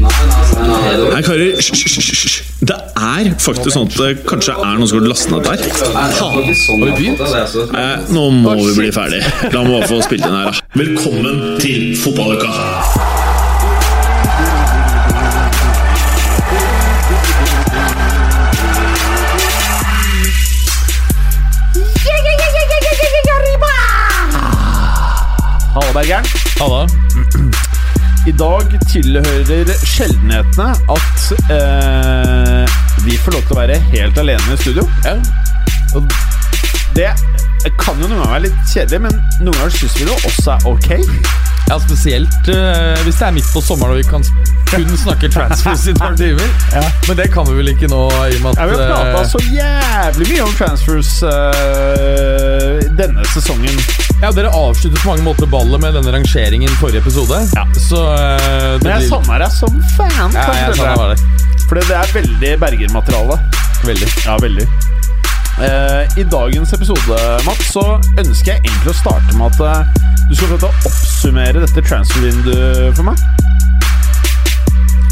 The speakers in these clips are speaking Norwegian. Nei, karer, hysj, hysj, hysj, hysj. Det er faktisk sånn at det kanskje er noen som har lastet ned der. Har vi begynt? Eh, nå må vi bli ferdig. La meg bare få spilt inn her, da. Velkommen til fotballuka! Halla, Bergeren. I dag tilhører sjeldenhetene at eh, vi får lov til å være helt alene i studio. Og det kan jo noen ganger være litt kjedelig, men noen ganger syns vi det også er ok. Ja, spesielt eh, hvis det er midt på sommeren og vi kan s- kun snakke transfers i et par timer. Men det kan vi vel ikke nå, i og med Ja, at vi har prata eh, så jævlig mye om transfers eh, denne sesongen. ja, Dere avsluttet på mange måter ballet med denne rangeringen i forrige episode. Ja. Så eh, det Men jeg blir savner deg som fan. ja, jeg savner for bare det. det er veldig Berger-materiale. Veldig. Ja, veldig. Eh, I dagens episode, Mats, så ønsker jeg egentlig å starte med at eh, du skal få lov til å oppsummere dette transfer-vinduet for meg.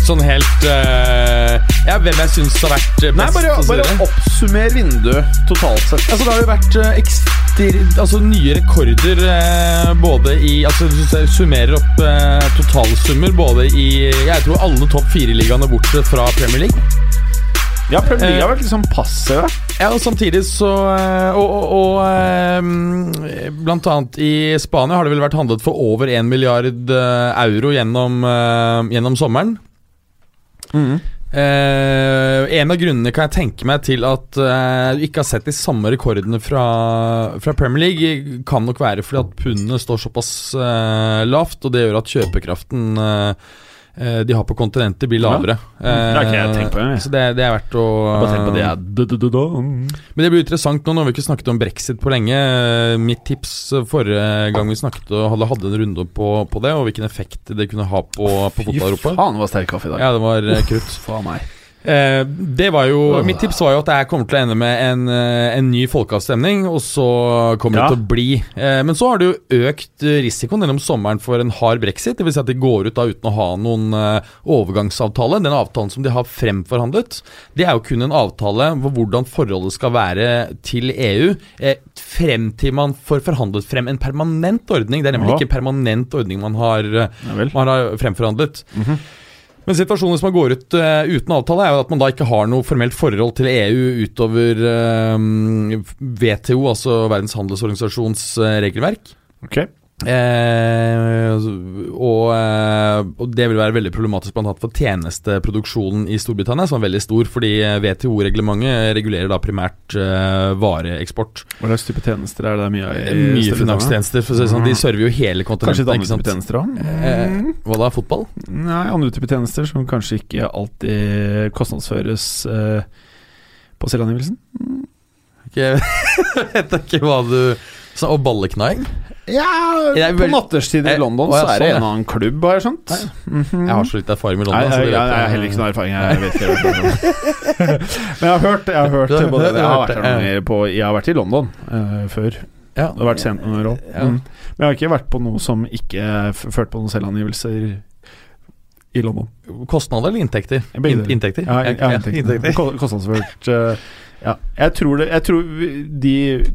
Sånn helt eh, Ja, hvem jeg syns har vært eh, best. Nei, bare, og så bare videre. oppsummer vinduet totalt sett. Altså, det har jo vært eh, ekster, altså, nye rekorder eh, både i Altså, hvis jeg summerer opp eh, totalsummer både i Jeg tror alle topp fire-ligaene bortsett fra Premier League. Ja, Premier League Eh, har vært liksom passive. Ja, og samtidig så eh, Og, og, og eh, mm, blant annet i Spania har det vel vært handlet for over 1 milliard eh, euro gjennom, eh, gjennom sommeren. Mm. Eh, en av grunnene kan jeg tenke meg til at eh, du ikke har sett de samme rekordene fra, fra Premier League, kan nok være fordi at pundet står såpass eh, lavt, og det gjør at kjøpekraften eh, eh, de har på kontinentet, blir Ja. lavere. Eh, det har ikke jeg tenkt på, jeg. så det, det er verdt å Bare tenk på det. men det blir interessant nå, nå har vi ikke snakket om brexit på lenge. Eh, Mitt tips eh, forrige gang vi snakket og hadde, hadde en runde på, på det, og hvilken effekt det kunne ha på, på fotball-Europa. Faen, det var sterk kaffe i dag. Ja, det var eh, krutt. Faen meg. Eh, det var jo, mitt tips var jo at det her kommer til å ende med en, eh, en ny folkeavstemning, og så kommer Ja. det til å bli. Eh, men så har det jo økt eh, risikoen gjennom sommeren for en hard brexit. Dvs. Si at de går ut da uten å ha noen eh, overgangsavtale. Den avtalen som de har fremforhandlet, det er jo kun en avtale hvor hvordan forholdet skal være til EU eh, frem til man får forhandlet frem en permanent ordning. Det er nemlig Ja. ikke en permanent ordning man har, eh, Ja vel. man har fremforhandlet. Men situasjonen hvis man går ut eh, uten avtale, er jo at man da ikke har noe formelt forhold til EU utover eh, WTO, altså Verdens handelsorganisasjons eh, regelverk. Ok. Eh, og, eh, og det vil være veldig problematisk bl.a. for tjenesteproduksjonen i Storbritannia, som er veldig stor, fordi eh, WTO-reglementet regulerer da primært eh, vareeksport. Hva slags type tjenester er det Eh, mye av? i- Mye Storbritannia? finanstjenester, for å si det sånn. De server jo hele Kanskje kontinentet. litt ikke andre sant? type tjenester òg? Eh, hva da? Fotball? Nei, andre typer tjenester som kanskje ikke alltid kostnadsføres eh, på selvangivelsen. Ikke, vet ikke hva du så, Og balleknaing? Ja, Jeg er på vel- natterstid i Eh, London å, ja, så er det sånn, en ja. annen klubb, har jeg skjønt. Nei. Jeg har så litt erfaring med London. Mm. Nei, jeg, så det jeg, vet jeg har heller ikke noe erfaring. Jeg vet ikke hva det er. Men jeg har hørt, jeg har hørt Du har- både, du har jeg, har hørt vært det, her noen ganger på, jeg har vært i London eh, før. Ja. Det har vært sent noen år også. Ja. Mm. Men jeg har ikke vært på noe som ikke f- førte på noen selvangivelser i London. Kostnader eller inntekter? Begge In deler. inntekter. Ja, Ja, ja, inntekter. Ko- Kostnadsført eh, ja. Jeg tror, det, jeg tror vi- de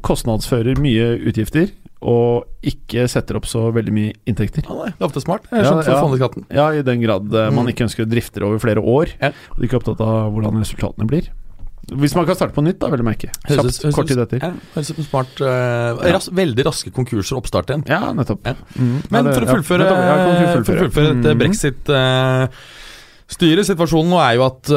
kostnadsfører mye utgifter, og ikke setter opp så veldig mye inntekter. Ja, nei, det er ofte smart. Ja, Jeg skjønte ja. for fondeskatten. Ja, i den grad eh, man Mm. ikke ønsker å drifte det over flere år, Ja. og ikke er opptatt av hvordan resultatene blir. Hvis man kan starte på nytt, da, vil jeg merke. Høres Kjapt, ut- høres kort tid ut- etter. Ja, høres ut som smart. eh, Ja. ras, veldig raske konkurser og oppstart igjen. Ja, nettopp. Ja. Mm. Men Ja, det- for å ja, fullføre, nettopp, ja, kan for å fullføre dette Mm. brexit eh, Styret situasjonen nå er jo at, eh,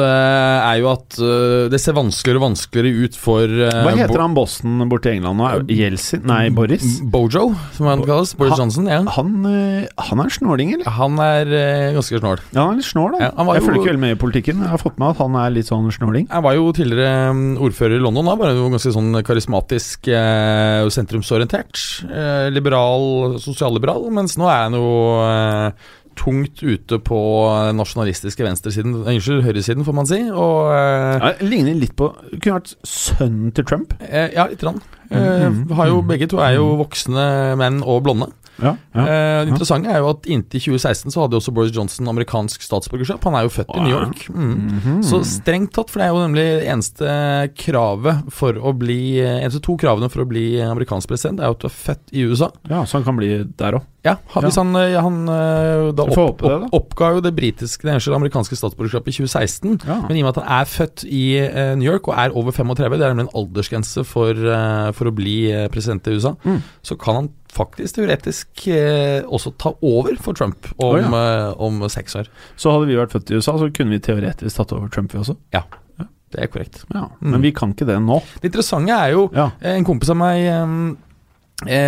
er jo at eh, det ser vanskeligere og vanskeligere ut for eh, Hva heter han bossen borte i England nå? Mm. Jeltsin? Nei, Boris? Bojo, som han kalles. Boris Ha- Johnson. Ja. Han, eh, han er en snåling, eller? Han er eh, ganske snål. Ja, han er litt snål, da. Ja, han var jeg jo- følger ikke veldig med i politikken. Jeg har fått med at han er litt sånn snåling. Jeg var jo tidligere mm, ordfører i London, da, bare jo ganske sånn karismatisk eh, og sentrumsorientert. Eh, liberal, sosialliberal, mens nå er han jo eh, tungt ute på den nasjonalistiske venstresiden, eh, unnskyld, høyresiden, får man si. Og eh, Ja, ligner litt på Kunne vært sønnen til Trump. eh, ja, lite grann. Eh, har jo, begge to er jo voksne menn og blonde. Ja, ja. Eh, det interessante er jo at inntil 2016 så hadde jo også Boris Johnson amerikansk statsborgerskap. Han er jo født i New York. Mm. Mhm. Så strengt tatt, for det er jo nemlig det eneste kravet for å bli eh, Eneste to kravene for å bli amerikansk president, er jo at du er født i USA. ja så han kan bli der òg. Ja, han, hvis han, eh, han eh, da Vi får håpe det, da. oppga jo det britiske, det eneste amerikanske statsborgerskapet i 2016. Ja. Men i og med at han er født i eh, New York og er over 35, det er nemlig en aldersgrense for, eh, for å bli eh, president i USA, Mm. så kan han faktisk teoretisk eh, også ta over for Trump om, Å, eh, om seks år. Så hadde vi vært født i USA, så kunne vi teoretisk tatt over Trump, vi også. Ja, det er korrekt. Ja. Men vi kan ikke det nå. Det interessante er jo Ja. eh, En kompis av meg eh,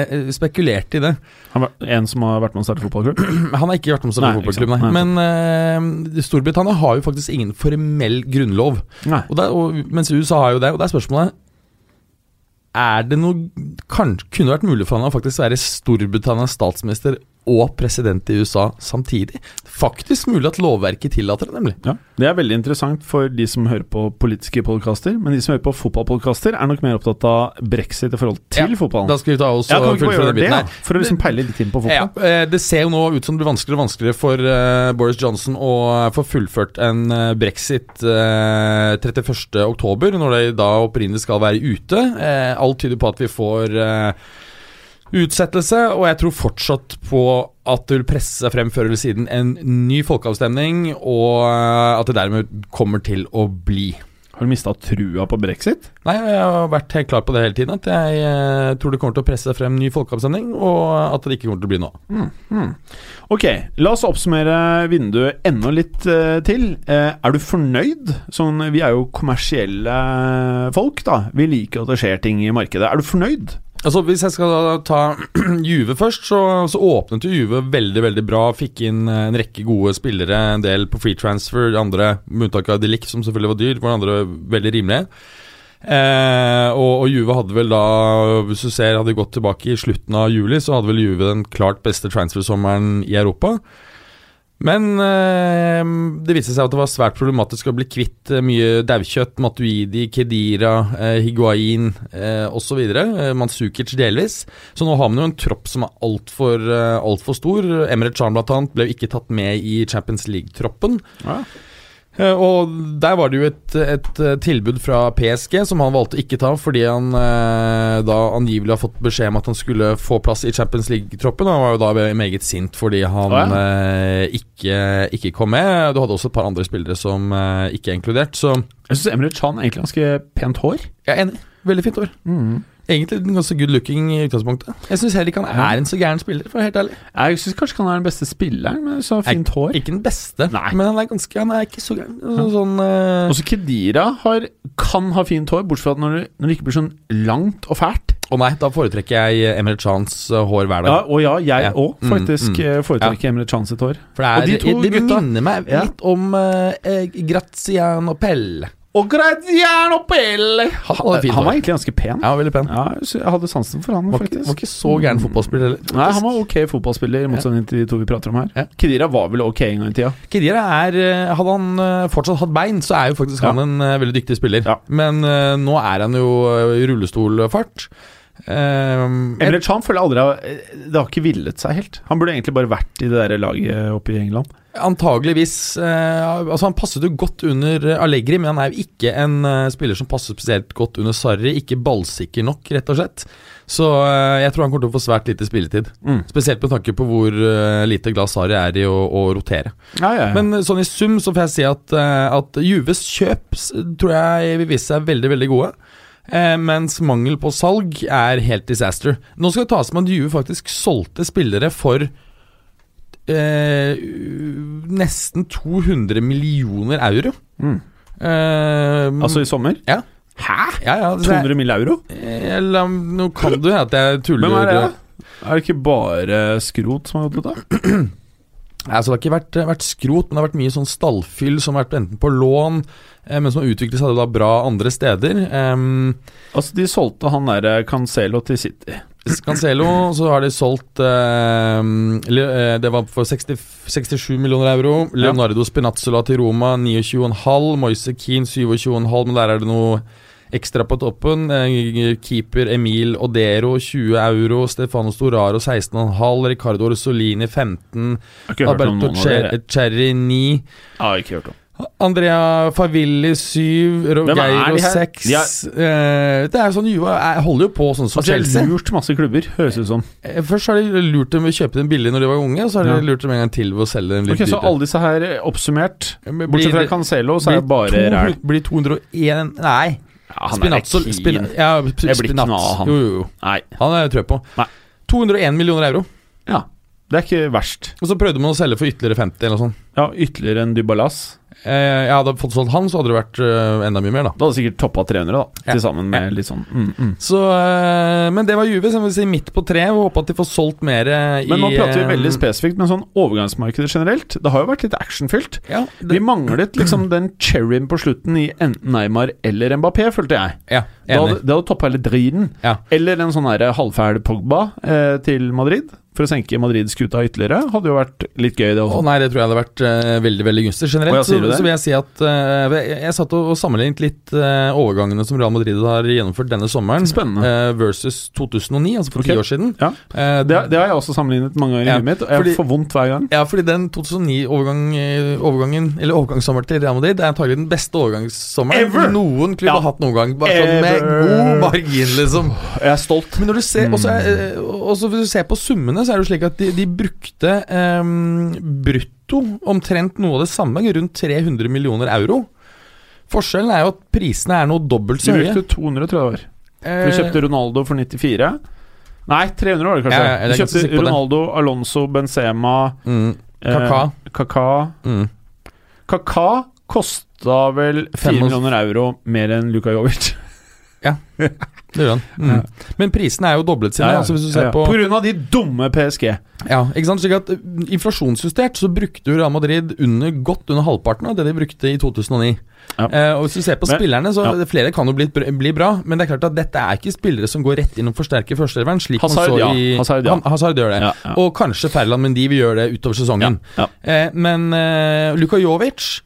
eh, spekulerte i det. Han var en som har vært med å starte fotballklubb. Han har ikke vært med som Nei, fotballklubb, ikke nei. sant. Nei, Men eh, Storbritannia har jo faktisk ingen formell grunnlov. Nei. Og der, og, mens USA har jo det, og det er spørsmålet Er det noe kan, Kunne det vært mulig for han å faktisk være Storbritannias statsminister og president i USA samtidig? Faktisk mulig at lovverket tillater det, nemlig. Ja. Det er veldig interessant for de som hører på politiske podkaster, men de som hører på fotballpodkaster, er nok mer opptatt av brexit i forhold til fotballen. Da skal vi ta oss Ja, og kan vi ikke bare fullføre gjøre den det, biten da? her. For å liksom peile litt inn Ja, på fotballen. eh, det ser jo nå ut som det blir vanskeligere og vanskeligere for eh, Boris Johnson å eh, få fullført en eh, brexit uh, 31.10, når de da opprinnelig skal være ute. Eh, alt tyder på at vi får eh, utsettelse, og jeg tror fortsatt på at det vil presse seg frem før eller siden en ny folkeavstemning, og eh, at det dermed kommer til å bli. Har du mista trua på brexit? Nei, jeg har vært helt klar på det hele tiden, at jeg eh, tror det kommer til å presse seg frem ny folkeavstemning, og at det ikke kommer til å bli noe. av. Ok, la oss oppsummere vinduet enda litt eh, til. Eh, er du fornøyd? Sånn, vi er jo kommersielle folk, da. Vi liker at det skjer ting i markedet. Er du fornøyd? Altså Hvis jeg skal da ta Juve først, så, så åpnet jo Juve veldig veldig bra. Fikk inn eh, en rekke gode spillere, en del på free transfer, de andre med unntak av Delic, som selvfølgelig var dyr, var de andre veldig rimelige. Eh, og, og Juve hadde vel da, hvis du ser, hadde gått tilbake i slutten av juli, så hadde vel Juve den klart beste transfersommeren i Europa. Men eh, det viste seg at det var svært problematisk å bli kvitt eh, mye daukjøtt. Matuidi, Kedira, eh, Higuain eh, osv. Eh, Mansukic delvis. Så nå har man jo en tropp som er altfor eh, alt for stor. Emre Can bl.a. ble jo ikke tatt med i Champions League-troppen. Ja. Eh, Og der var det jo et, et eh, tilbud fra PSG som han valgte å ikke ta, fordi han eh, da angivelig har fått beskjed om at han skulle få plass i Champions League-troppen. og Han var jo da ve- meget sint fordi han Å, ja. eh, ikke, ikke kom med. Du hadde også et par andre spillere som eh, ikke er inkludert, så Jeg syns Emre Chan er egentlig ganske pent hår. jeg er enig. Veldig fint år. Mm. Egentlig en ganske good looking i utgangspunktet. Jeg syns heller ikke han er en så gæren spiller, for å være helt ærlig. Jeg syns kanskje ikke han er den beste spilleren, men så har fint hår. Ikke den beste, Nei. men han er ganske Han er ikke så gæren. Sånn, sånn eh, Også Kedira har, kan ha fint hår, bortsett fra at når det, når det ikke blir sånn langt og fælt. Å nei, da foretrekker jeg Emre Chans eh, hår hver dag. Ja, og ja, jeg Ja. òg Mm, faktisk mm. eh, foretrekker Emre Chan sitt hår. For det, er, Og de to det, det gutta- minner meg Ja. litt om eh, eh, Graziano Pelle. Og Graziano Pelle! Han hadde fint Han var hår. egentlig ganske pen. Ja, veldig pen. Ja, så jeg hadde sansen for han, Var ikke, faktisk. var ikke så gæren fotballspiller heller. Nei, han var ok fotballspiller, i motsetning til de to vi prater om her. Ja. Kedira var vel ok en gang i tida. Kedira er eh, Hadde han eh, fortsatt hatt bein, så er jo faktisk Ja. han en eh, veldig dyktig spiller. Ja. Men eh, nå er han jo eh, i rullestolfart. Ehm, Emre Can føler jeg aldri har eh, Det har ikke villet seg helt. Han burde egentlig bare vært i det der laget oppe i England. Antageligvis eh, Altså Han passet jo godt under eh, Allegri, men han er jo ikke en eh, spiller som passer spesielt godt under Sarri. Ikke ballsikker nok, rett og slett. Så eh, jeg tror han kommer til å få svært lite spilletid. Mm. Spesielt med tanke på hvor eh, lite glad Sarri er i å, å rotere. Ja, ja, ja. Men eh, sånn i sum så får jeg si at, eh, at Juves kjøp s- tror jeg vil vise seg veldig, veldig gode. Eh, mens mangel på salg er helt disaster. Nå skal det tas med at Juve faktisk solgte spillere for eh, u- nesten 200 millioner euro. Eh, Mm. Altså i sommer? ja. Hæ? ja, ja så jeg- 200 mill. euro? Eller um, nå kan du hende at jeg tuller. Hvem er det, da? Er det ikke bare skrot som har gjort dette? Altså, det har ikke vært, vært skrot, men det har vært mye sånn stallfyll som har vært enten på lån, eh, men som har utviklet seg da bra andre steder. Um, Altså, de solgte han derre Cancelo til City. Scancelo, så har de solgt eh, Le- eh, Det var for 60, 67 millioner euro. Leonardo Spinazzola til Roma 29,5. Moise Keane 27,5, men der er det noe ekstra på toppen. Eh, Keeper Emil Odero 20 euro. Stefano Storaro 16,5. Ricardo Orsolini 15. Har ikke hørt om Alberto noen av dere. Cher- Cherry 9. Jeg har ikke hørt om. Andrea Favilli 7, Hvem er Rogeiro de her? 6 De eh, Det er jo sånn Juve er- holder jo på sånn som Altså, jeg Chelsea. har lurt masse klubber, høres ut som. Eh, Først har de lurt dem ved å kjøpe dem billig når de var unge, og så har de lurt dem en gang til ved å selge dem litt Ok, Så dyrere. alle disse her eh, oppsummert Men blir Bortsett fra det- Cancelo, så er det Blir bare 200 ræl. Ah, Blir 201 Nei. Ja, Spinazzo keen. spin, ja, sp- Jeg blir ikke Spinazzo. noe av han. Jo, jo, jo. Nei. Han er jeg trø på. Nei. 201 millioner euro. Ja. Det er ikke verst. Og så prøvde man å selge for ytterligere 50 eller noe sånt. Ja, Ytterligere enn Dybalas. Eh, jeg hadde fått solgt han, så hadde det vært eh, enda mye mer, da. Det hadde sikkert toppa 300, da. Ja. Til sammen med litt sånn mm, mm. Så, eh, men det var Juve, så jeg vil si midt på treet. og Håper at de får solgt mer eh, i Men nå prater vi eh, veldig spesifikt, men sånn overgangsmarkedet generelt Det har jo vært litt actionfylt. eh, Ja, Vi manglet liksom den cherryen på slutten i enten Neymar eller Mbappé, følte jeg. ja Det hadde, enig. det hadde toppa hele driten. Ja. Eller en sånn her halvfæl Pogba eh, til Madrid, for å senke Madrid-skuta ytterligere. Hadde jo vært litt gøy, det Å også. nei, det tror jeg hadde vært eh, veldig veldig gunstig. Generelt Å, ja, så, sier du det? så vil jeg si at eh, jeg, jeg satt og, og sammenlignet litt eh, overgangene som Real Madrid har gjennomført denne sommeren, Spennende. eh, versus 2009, altså for ti Ok. år siden. Ja. Eh, Det, det har jeg også sammenlignet mange ganger i Ja, huet mitt, og jeg fordi- får vondt hver gang. ja, fordi den 2009-overgangen eh, overgangen, Eller overgangssommeren til Real Madrid Det er antagelig den beste overgangssommeren Ever! noen klubb Ja. har hatt noen gang. Bare sånn med Ever! god margin, liksom. Jeg er stolt. Men når du ser, også, Mm. er- eh, også hvis du ser på summene, så er det jo slik at de, de brukte ehm, brutto omtrent noe av det samme, rundt 300 millioner euro. Forskjellen er jo at prisene er noe dobbelt Du så høye. brukte 200, tror jeg det var. Eh, Du kjøpte Ronaldo for 94. Nei, 300 var det Ja, kanskje. ja, jeg er du ganske sikker kjøpte på det. Ronaldo, Alonso, Benzema mm, Kaká. Eh, Kaka. Mm. Kaka kosta vel 4 Fem og- millioner euro mer enn Luka Jovic. Det gjør han. Mm. Men prisene er jo doblet sine. Altså hvis du ser Ja, ja. på på grunn av de dumme PSG. Ja, ikke sant? Slik at eh, Inflasjonsjustert så brukte jo Real Madrid under, godt under halvparten av det de brukte i 2009. Ja. Eh, og Hvis du ser på Men- spillerne, så ja. flere kan jo bli, bli bra, men det er klart at dette er ikke spillere som går rett inn og forsterker førsteelveren. slik Hazard, man så ja. i Hazard, ja. Han- Hazard gjør det. Ja, ja. Og kanskje Ferland Mendy vil gjøre det utover sesongen. Ja, ja. Eh, men eh, Luka Jovic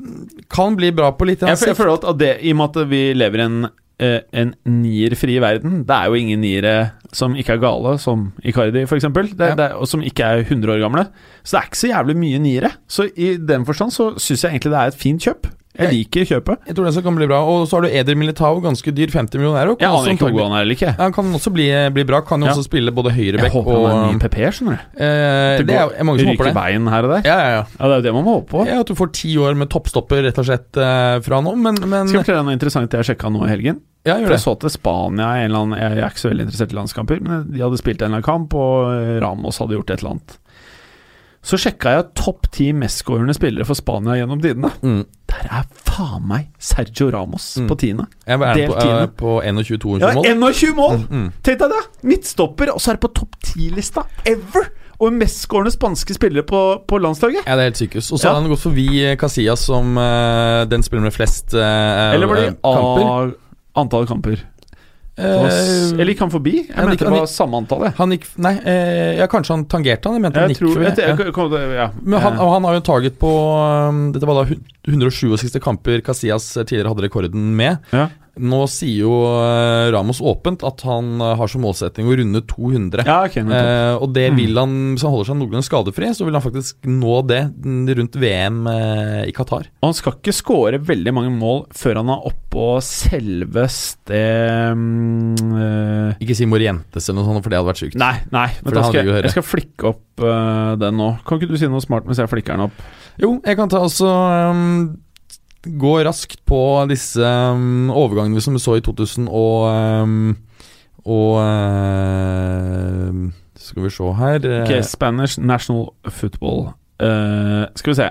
mm, kan bli bra på litt Jeg, føl- jeg sikt. føler at- at det, i og med at vi lever i en eh, en nierfri verden. Det er jo ingen niere som ikke er gale, som Icardi f.eks., Ja. og som ikke er 100 år gamle. Så det er ikke så jævlig mye niere. Så i den forstand så syns jeg egentlig det er et fint kjøp. Jeg liker kjøpet. Jeg tror det så kan bli bra. Og så har du Eder Militao, ganske dyr, 50 millioner euro. Kan Jeg også aner ikke hvor antagelig- god han er eller ikke. Ja, Han kan også bli, eh, bli bra. Kan jo Ja. også spille både Jeg høyreback håper og han er en ny PP, skjønner du. Eh, det er jo mange som håper ryker det. bein her og der. Ja, ja, ja. Ja, det er jo det man må håpe på. ja, At du får ti år med toppstopper rett og slett eh, fra nå, men, men Skal sånn jeg fortelle deg noe interessant jeg sjekka nå i helgen? Ja, For gjør jeg det. så til Spania en eller annen, Jeg er ikke så veldig interessert i landskamper, men de hadde spilt en eller annen kamp, og eh, Ramos hadde gjort et eller annet. Så sjekka jeg topp ti mestskårende spillere for Spania gjennom tidene. Mm. Der er faen meg Sergio Ramos på tiende. Jeg er på, Delt jeg tiende. er på 21-22 Ja, Mm. mål. Mm, 21 mål! Tenk deg det! Midtstopper, og så er det på topp ti-lista ever! Og mestskårende spanske spillere på, på landslaget. Ja, det er helt sykehus. Og så Ja. har han gått forbi eh, Casillas som eh, den spiller med flest eh, Eller var eh, det kamper. av antall kamper? Det var s- Eh, Eller gikk han forbi? Jeg han mente gikk- det han var samme antallet. han gikk Nei, eh, ja, kanskje han tangerte han. Jeg mente han Jeg gikk tror forbi. jeg, jeg, Ja. kom- ja. Men han, Eh, og han har jo en target på um, Dette var da hun- 167 kamper Casillas eh, tidligere hadde rekorden med. Ja. Nå sier jo eh, Ramos åpent at han eh, har som målsetting å runde 200. ja, Mm. ok, nettopp. Eh, og det vil han, Hvis han holder seg noenlunde skadefri, så vil han faktisk nå det mm, rundt VM eh, i Qatar. Og han skal ikke skåre veldig mange mål før han er oppå selveste mm, eh, Ikke si Morientes eller noe sånt, for det hadde vært sykt. Nei, nei, For men det da hadde vi skal jo jeg, høre. jeg skal flikke opp eh, den nå. Kan ikke du si noe smart mens jeg flikker den opp? Jo, jeg kan ta altså um, Gå raskt på disse um, overgangene ehm, som vi så i 2000 og um, Og um, Skal vi se her eh, Ok, Spanish National Football. Eh, skal vi se.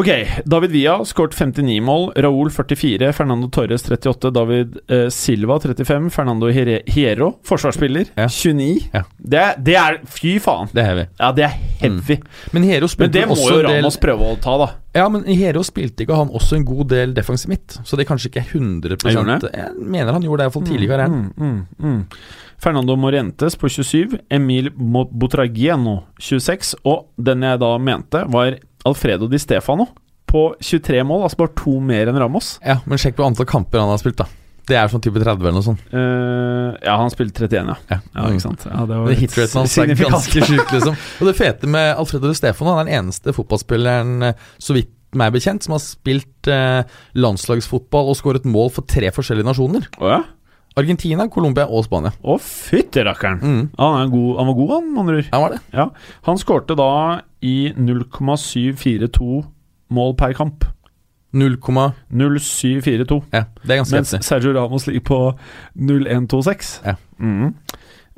Ok, David Villa skåret 59 mål, Raúl 44, Fernando Torres 38, David eh, Silva 35, Fernando Hier- Hierro, forsvarsspiller, Ja. 29. Ja. Det, det er Fy faen! Det er heavy. Ja, det er heavy. Men Hero Mm. Men spilte det må også jo en del Ramos prøve å ta, da. Ja, men Hero spilte ikke han også en god del defensiv midt, så det er kanskje ikke 100 Jeg gjorde det. Jeg mener han gjorde det i hvert fall tidlig i karrieren. Mm, mm, mm. Fernando Morentes på 27, Emil Mo- Botragiano 26, og den jeg da mente, var Alfredo Di Stefano på 23 mål, altså bare to mer enn Ramos. Ja, Men sjekk på antall kamper han har spilt, da. Det er sånn type 30 eller noe sånt. Eh, ja, han spilte 31, ja. Ja, ja ikke sant? Mm. Ja, det Men Hitraten hans er signifikant. ganske sjuk, liksom. Og det fete med Alfredo de Stefano, han er den eneste fotballspilleren, eh, så vidt meg bekjent, som har spilt eh, landslagsfotball og skåret mål for tre forskjellige nasjoner. Å ja? Argentina, Colombia og Spania. Å, fytti rakkeren! Mm. Han, er god- han var god, han, med andre ord. Ja, var det. Ja. Han skårte da i 0,742 mål per kamp. 0, 0,742. ja, det er ganske Mens heftig. Sergio Ramos ligger på 0126. Ja. Mhm.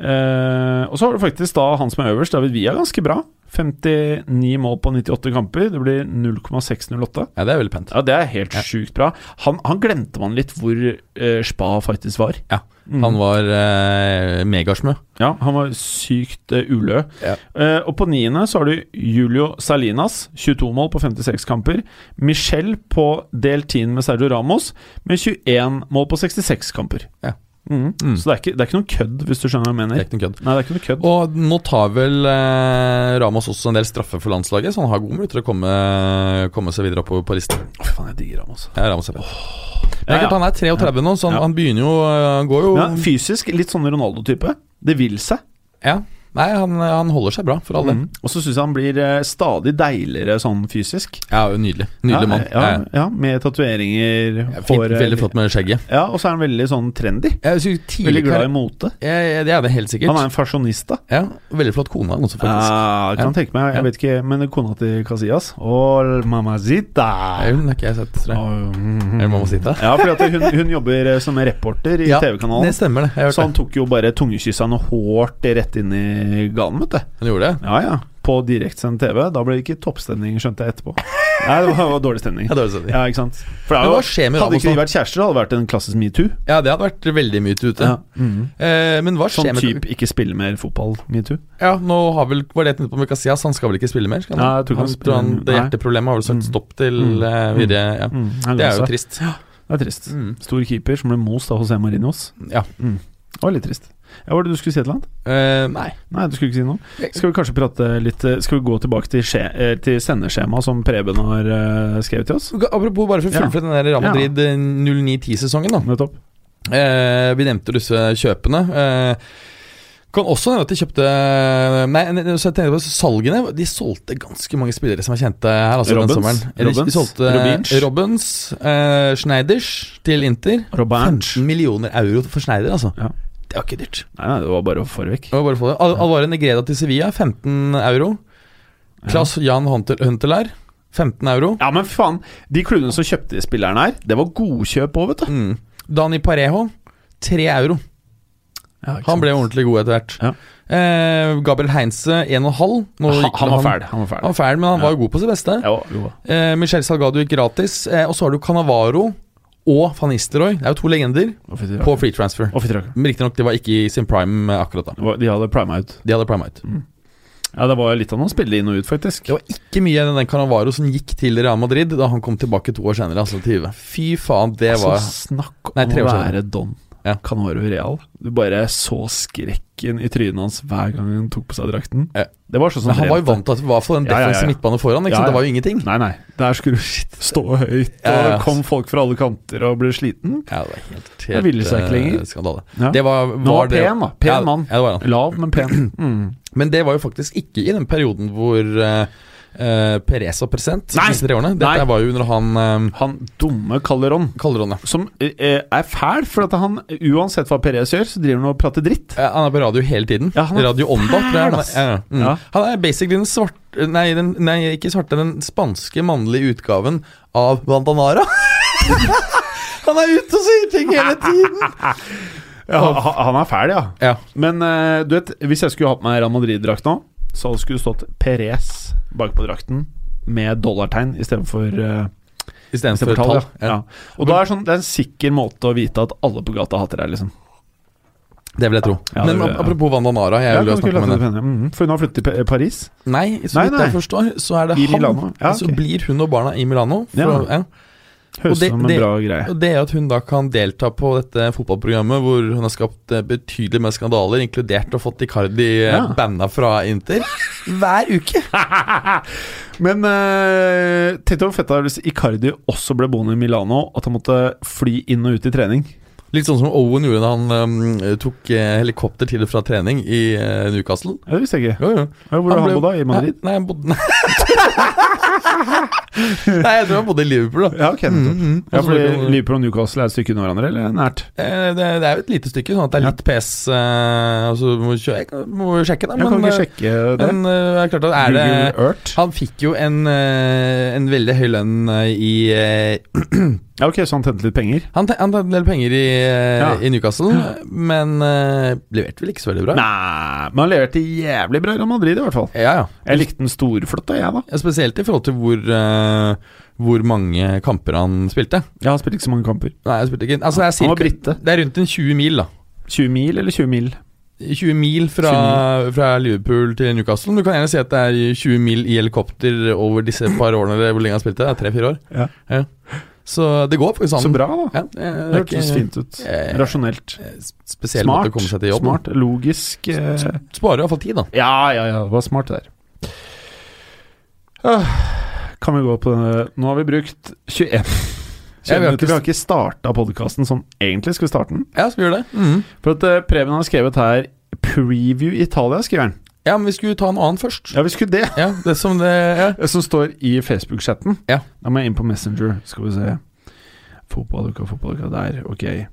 Eh, og så har du faktisk da han som er øverst, David Villa, ganske bra. 59 mål på 98 kamper. Det blir 0,608. Ja, det er veldig pent. Ja, Det er helt Ja. sjukt bra. Han, han glemte man litt hvor eh, spa faktisk var. Ja, Mhm. Han var eh, megasmø. Ja, han var sykt eh, ulø. Ja. Eh, og på niende så har du Julio Salinas, 22 mål på 56 kamper. Michel på del 10 med Sergio Ramos, med 21 mål på 66 kamper. Ja. Mhm. Mm. Så det er, ikke, det er ikke noen kødd, hvis du skjønner hva jeg mener. Det er ikke noe kødd. Nei, det er ikke noe kødd. Og nå tar vel eh, Ramos også en del straffer for landslaget, så han har gode muligheter til å komme, komme seg videre oppover på listen. Å, fy faen, jeg digger Ramos. Ja, Ramos er bra. Men det Ja, er ja. klart han er 33 nå, så han, Ja. han begynner jo eh, Han går jo Ja, fysisk litt sånn Ronaldo-type. Det vil seg. Ja. Nei, han, han holder seg bra, for all del. Mhm. Og så syns jeg han blir eh, stadig deiligere sånn fysisk. Ja, nydelig. Nydelig ja, mann. Ja, Ja, ja, Med tatoveringer, ja. Fint, veldig flott med skjegget. Ja, og så er han veldig sånn trendy. Jeg synes tidlig Veldig glad i mote. ja, ja, Det er det helt sikkert. Han er en fasjonista. Ja, Veldig flott kone, han også, faktisk. Ja, kan Ja. tenke meg, Ja. jeg vet ikke, men kona til Casillas Åh, mamacita Nei, Hun har ikke jeg sett, tror jeg. Åh, mm, Eller mm. mamma sitte. Ja, fordi at hun, hun jobber eh, som reporter i det TV-kanalen Sånn. stemmer, det. Jeg har Så han hørt det. tok jo bare tungekyssene hårdt rett inn i ganen, vet du Han gjorde det? Ja, ja, på direktsendt TV Da ble det ikke toppstemning, skjønte jeg etterpå Nei, det var, var dårlig stemning Ja, dårlig stemning. Ja, ikke sant For det Men er jo- hva skjer med Hadde Ramos ikke de da? vært kjærester, hadde det vært en klassisk MeToo Ja, det hadde vært veldig mye ute. Ja. Mhm. Eh, men hva skjer Sånn med type ikke spille mer fotball, MeToo Ja, nå har vel Var det på med Casillas? Han skal vel ikke spille mer? Skal han? Nei, jeg tror ikke han, han tror han, spiller- det nei. hjerteproblemet har vel sagt stopp til Mm. eh, videre ja. mm, han Det er løser. jo trist. Det er trist Mm. Stor keeper som ble most av José Marinos Mm. Ja. Det var litt trist. Ja, var det du skulle si et eller annet? Eh, nei. Nei, du skulle ikke si noe? Skal vi kanskje prate litt eh, Skal vi gå tilbake til, skje, eh, til sendeskjemaet som Preben har eh, skrevet til oss? Apropos, bare for å Ja. fullføre den der Real Ja. Madrid eh, 09-10-sesongen, da. Nettopp. Eh, vi nevnte jo disse kjøpene. Eh, kan også nevne at de kjøpte Nei, ne- ne- så jeg tenkte på salgene. De solgte ganske mange spillere som er kjente her. Altså, Robbins. den sommeren. Eh, de- Robbins. De solgte Robinch. Robbins, eh, Schneiders til Inter. Robert. 15 millioner euro for Schneider, altså. Ja. Det var ikke dyrt. Nei, nei, det var bare å få det vekk. Jeg må bare få det. Al Alvaro Negreda til Sevilla, 15 euro. Klaas Jan Huntel- Huntelaar, 15 euro. Ja, men faen. De klubbene som kjøpte de spillerne her, det var godkjøp òg, vet du. Mm. Dani Parejo, 3 euro. Han ble ordentlig god etter hvert. Ja. Eh, Gabriel Heinze, 1,5. Nå han, gikk han nå var fæl. Han var Han fæl. var fæl, men han var jo god på sitt beste. Ja, jo. Eh, Michel Salgado gikk gratis. Eh, og så har du Canavaro og van Nistelrooy. Det er jo to legender Å, fy til på free transfer. Å, fy til rakkeren. Men Riktignok, de var ikke i sin prime eh, akkurat da. Det var- De hadde prima ut. De hadde prime out. Ja, det var litt av noen spille inn og ut, faktisk. Det var ikke mye av den Canavaro som gikk til Real Madrid da han kom tilbake to år senere, altså til Juve. Fy faen, det Altså, var snakk om Nei, tre å år siden. være Don Ja. Canoro Real. Du bare så skrekken i trynet hans hver gang han tok på seg drakten. Ja. Det var sånn som Eh, Men han var jo drepte. vant til at det var for den Ja, ja, ja, ja. defensive midtbane foran, ikke sant? Ja, ja. Det var jo ingenting. Nei, nei. Der skulle du shit, stå høyt, og Ja, ja. det kom folk fra alle kanter og ble sliten. Ja, det var helt, helt Det ville seg ikke eh, lenger. Skandale. Ja. Det var, var Nå var det- pen, da. Pen ja, mann. Ja, det var han. Lav, men pen. Mm. Men det var jo faktisk ikke i den perioden hvor eh, eh, Perez var president. Nei! De siste tre årene. Dette Nei. var jo under han uh, Han dumme Calderon, Calderón, ja. som eh, er fæl, for at han uansett hva Perez gjør, så driver han og prater dritt. Eh, Han er på radio hele tiden. Ja, han er radio Onda. tror jeg fæl, han er. ass. Ja, ja. Mm. Ja. Han er basically den svarte Nei, den, nei ikke svarte, den spanske mannlige utgaven av Bandanara. han er ute og sier ting hele tiden! Ha- ha- Han er fæl, ja. Ja. Men eh, du vet, hvis jeg skulle hatt meg Real Madrid-drakt nå, så skulle det stått Perez bakpå drakten med dollartegn istedenfor uh, Istedenfor tall. tall. Ja. Ja. Og da er sånn, det er en sikker måte å vite at alle på gata hater deg, liksom. Det vil jeg tro. Ja, det Men vil jeg, ja. apropos Vandanara jeg Ja, vil jo kan du snakke ikke om henne. late det hende? Mhm, for hun har flyttet til Pe- Paris. Nei, så Nei, vidt nei. jeg forstår, så er det I han. Milano. Ja, Så ok. blir hun og barna i Milano. For, Ja. ja. Og Høres ut det- som en det- bra greie. Og Det at hun da kan delta på dette fotballprogrammet hvor hun har skapt eh, betydelig med skandaler, inkludert og fått Icardi eh, Ja. banna fra Inter hver uke. Men eh, tenk deg hvor fett det er hvis Icardi også ble boende i Milano, at han måtte fly inn og ut i trening. Litt sånn som Owen gjorde da han eh, tok eh, helikopter til og fra trening i eh, Newcastle. Ja, det visste jeg ikke. Jo, jo. Ja, Hvor har han bodd da? I Madrid? Nei, nei, han bodde Nei, jeg tror han bodde i Liverpool, da. Ja, ok, nettopp. Mm, mm. Ja, fordi Altså, det- Liverpool og Newcastle er et stykke unna hverandre, eller nært? Eh, Det, det er jo et lite stykke, sånn at det er litt pes. eh, Altså, må kjø- jeg kan- må jo sjekke, da. Jeg kan men, ikke sjekke eh, det. men, eh, det er klart at er det Google Earth. Han fikk jo en, eh, en veldig høy lønn eh, i eh, Ja, ok, så han tjente litt penger? Han te- han tjente en del penger i, eh, Ja. i Newcastle, men eh, leverte vel ikke så veldig bra? Nei, men han leverte jævlig bra i Real Madrid, i hvert fall. Ja, ja. Jeg likte den storflott, da, jeg, da. ja. Spesielt i forhold til hvor, eh, hvor mange kamper han spilte. Jeg har spilt ikke så mange kamper. Nei, jeg spilte ikke altså, det, er Han var cirka, brite. det er rundt en 20 mil, da. 20 mil eller 20 mil? 20 mil fra, fra Liverpool til Newcastle. Du kan gjerne si at det er 20 mil i helikopter over disse par årene, eller hvor lenge han spilte. Det er Tre-fire år. Ja. Så det går faktisk Så an. bra, da. Ja, det er Det hørtes ikke- fint ut. eh, Rasjonelt. eh, Spesiell måte å Smart. komme seg til jobb. Smart. Logisk. eh, Sparer iallfall tid, da. Ja, ja, ja. Det var smart, det der. Ah, Kan vi gå på denne Nå har vi brukt 21 Ja, vi har ikke- minutter. Vi har ikke starta podkasten sånn egentlig skal vi starte den. Ja, så vi gjør det. For at eh, Preben har skrevet her 'Preview Italia', skriver han. Ja, men vi skulle ta en annen først. Ja, Ja, vi skulle det. det som det ja. Eh, Som står i Facebook-chatten. Ja. Da må jeg inn på Messenger. Skal vi se Fotballuka, fotballuka der. Ok.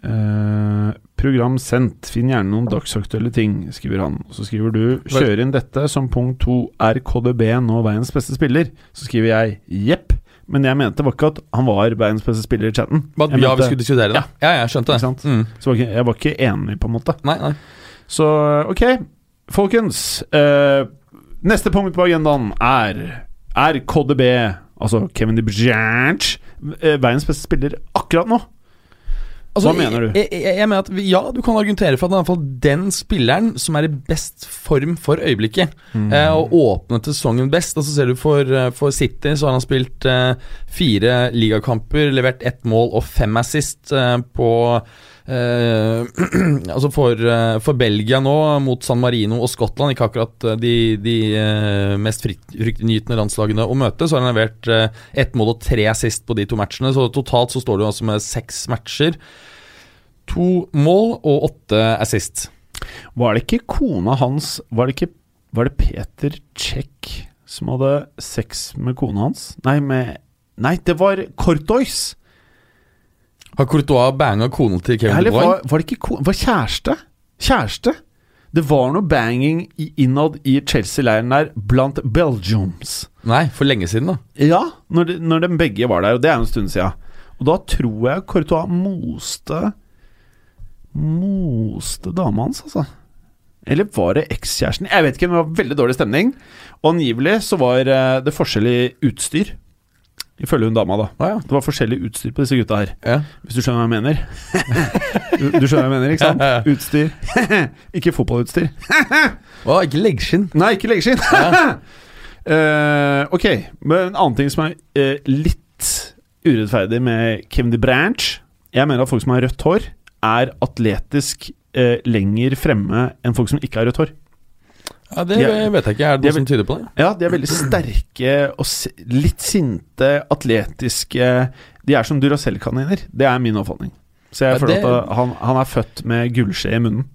Eh, program sendt. Finn gjerne noen dagsaktuelle ting, skriver han. Og Så skriver du 'Kjør inn dette som punkt to. Er KDB nå verdens beste spiller?' Så skriver jeg 'Jepp'. Men jeg mente var ikke at han var verdens beste spiller i chatten. Hva- Jeg ja, vi mente- skulle diskutere det. Ja, jeg skjønte Ikke det. sant? Mm. Så var ikke, jeg var ikke enig, på en måte. Nei, nei. Så ok, folkens. eh, neste punkt på agendaen er Er KDB, altså Kevin De Bruyne, eh, verdens beste spiller akkurat nå? Hva mener du? Altså, Jeg, jeg, jeg mener at vi, Ja, du kan argumentere for at det er i hvert fall den spilleren som er i best form for øyeblikket. Mm. Eh, og åpnet sesongen best. Altså Ser du for, eh, for City, så har han spilt eh, fire ligakamper, levert ett mål og fem assist eh, på eh, Altså for, eh, for Belgia nå, mot San Marino og Skottland, ikke akkurat eh, de, de eh, mest fritt- fryktinngytende landslagene å møte, så har han levert eh, ett mål og tre assist på de to matchene. Så totalt så står du altså med seks matcher. To mål og åtte assist. Var det ikke kona hans Var det ikke Var det Peter Czech som hadde sex med kona hans? Nei, med Nei, det var Cortois! Har Courtois banga kona til Kevin De Eller Bruyne? var, var det ikke ko- Var kjæreste? Kjæreste? Det var noe banging i- innad i Chelsea-leiren der blant Belgiums. Nei, for lenge siden, da. Ja, når de, når de begge var der, og det er jo en stund siden. Og da tror jeg Courtois moste Moste dama hans, altså. Eller var det ekskjæresten? Jeg vet ikke, men det var veldig dårlig stemning. Og angivelig så var eh, det forskjellig utstyr, ifølge hun dama, da. Å, ja. Det var forskjellig utstyr på disse gutta her, Ja. hvis du skjønner hva jeg mener. Du, du skjønner hva jeg mener, ikke sant? Utstyr. ikke fotballutstyr. Å, ikke leggskinn. Nei, ikke leggeskinn. Eh, ok, men en annen ting som er eh, litt urettferdig med Kevin De Branch Jeg mener at folk som har rødt hår, er atletisk eh, lenger fremme enn folk som ikke har rødt hår. Ja, det De- vet jeg ikke. Er det de er noe som tyder på det? Ja, de er veldig sterke og si- litt sinte, atletiske De er som Duracell-kaniner. Det er min oppfatning. Så jeg Ja, føler det- at han, han er født med gullskje i munnen.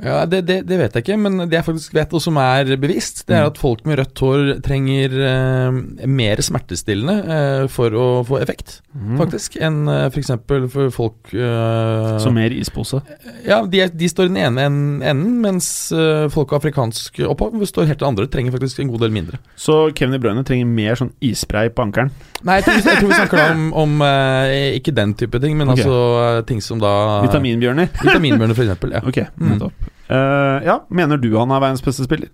Ja, det, det, det vet jeg ikke, men det jeg faktisk vet, og som er bevisst, det er at folk med rødt hår trenger eh, mer smertestillende eh, for å få effekt, faktisk, enn eh, f.eks. For, for folk eh, Så mer ispose. Ja, de, er- de står i den ene en- enden, mens eh, folk av afrikansk opphav står helt til andre, trenger faktisk en god del mindre. Så Kevin De Bruyne trenger mer sånn isspray på ankelen. Nei, jeg tror, vi- jeg tror vi snakker da om, om eh, ikke den type ting, men Ok. altså eh, ting som da Vitaminbjørner. Vitaminbjørner, f.eks. Ja. Ok, Mm. nettopp. Eh, ja, mener du han er verdens beste spiller?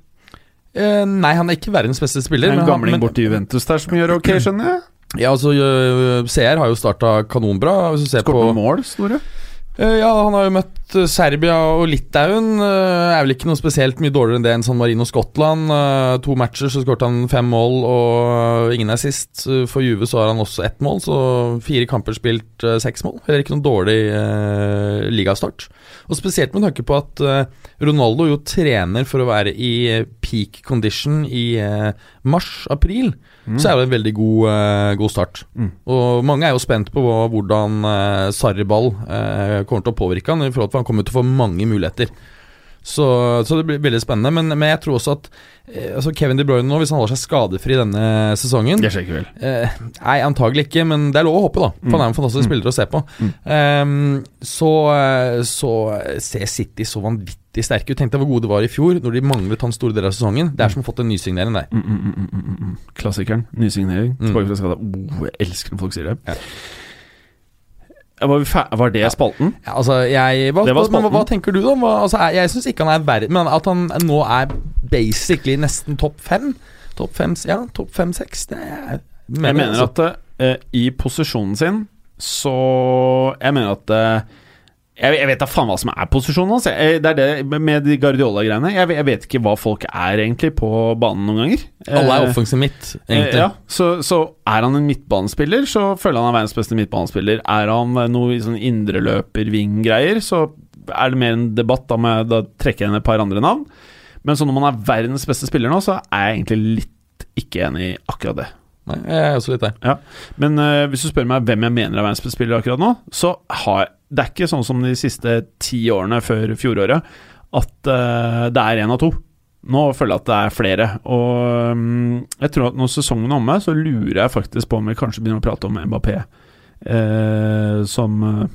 Eh, nei, han er ikke verdens beste Det spiller. er en men han- gamling men- borti Juventus der som gjør ok, skjønner jeg. Ja, altså øh, CR har jo starta kanonbra. Hvis du ser Skåret på mål, Snorre. Øh, Ja, han har jo møtt øh, Serbia og Litauen. øh, Er vel ikke noe spesielt mye dårligere enn det enn San Marino og Skottland. Øh, To matcher så skåret han fem mål, og øh, ingen er sist. Øh, For Juve så har han også ett mål, så fire kamper spilt øh, seks mål. Heller ikke noen dårlig øh, ligastart. Og spesielt med tanke på at øh, Ronaldo jo trener for å være i øh, peak condition i mars-april, så er det en veldig god, eh, god start. Mm. Og mange er jo spent på hva- hvordan eh, Sarri Ball eh, kommer til å påvirke han, i forhold til at han kommer til å få mange muligheter. Så, så det blir veldig spennende. Men, men jeg tror også at eh, altså Kevin De Bruyne nå, hvis han holder seg skadefri denne sesongen Det skjer ikke vel. Mm. Eh, nei, antagelig ikke, men det er lov å håpe, da. For han er en fantastisk spiller å se på. Ehm, så, eh, så ser City så vanvittig sterke ut. Tenk deg hvor gode de var i fjor, når de manglet han store deler av sesongen. Det er som å ha fått en nysignering der. Mm, mm, mm, mm, mm, mm. Klassikeren. Nysignering. Mm. Tilbake fra skada. Oh, jeg elsker når folk sier det. Eh, Var, vi fer- var det spalten? Ja, altså, jeg, hva, Det var men, hva, hva spalten. tenker du, da? Hva, altså, jeg jeg syns ikke han er verre, men at han nå er basically nesten topp fem. Topp fem, ja, topp fem-seks. Det er altså, jeg mener at eh, i posisjonen sin så Jeg mener at eh, jeg, jeg vet da faen hva som er posisjonen hans. Jeg- Det er det med de Guardiola-greiene. Jeg, jeg vet ikke hva folk er egentlig på banen noen ganger. alle er Eh, offensive mitt, Eh, egentlig. Ja, så, så er han en midtbanespiller, så føler han er verdens beste midtbanespiller. Er han eh, noe i sånn indreløper-ving-greier, så er det mer en debatt. Da, med, da trekker jeg inn et par andre navn. Men så når man er verdens beste spiller nå, så er jeg egentlig litt ikke enig i akkurat det. Nei, jeg er også litt der. Men eh, hvis du spør meg hvem jeg mener er verdens beste spiller akkurat nå, så har det er ikke sånn som de siste ti årene før fjoråret, at eh, det er én av to. Nå føler jeg at det er flere. Og mm, jeg tror at når sesongen er omme, så lurer jeg faktisk på om vi kanskje begynner å prate om Mbappé eh, som eh,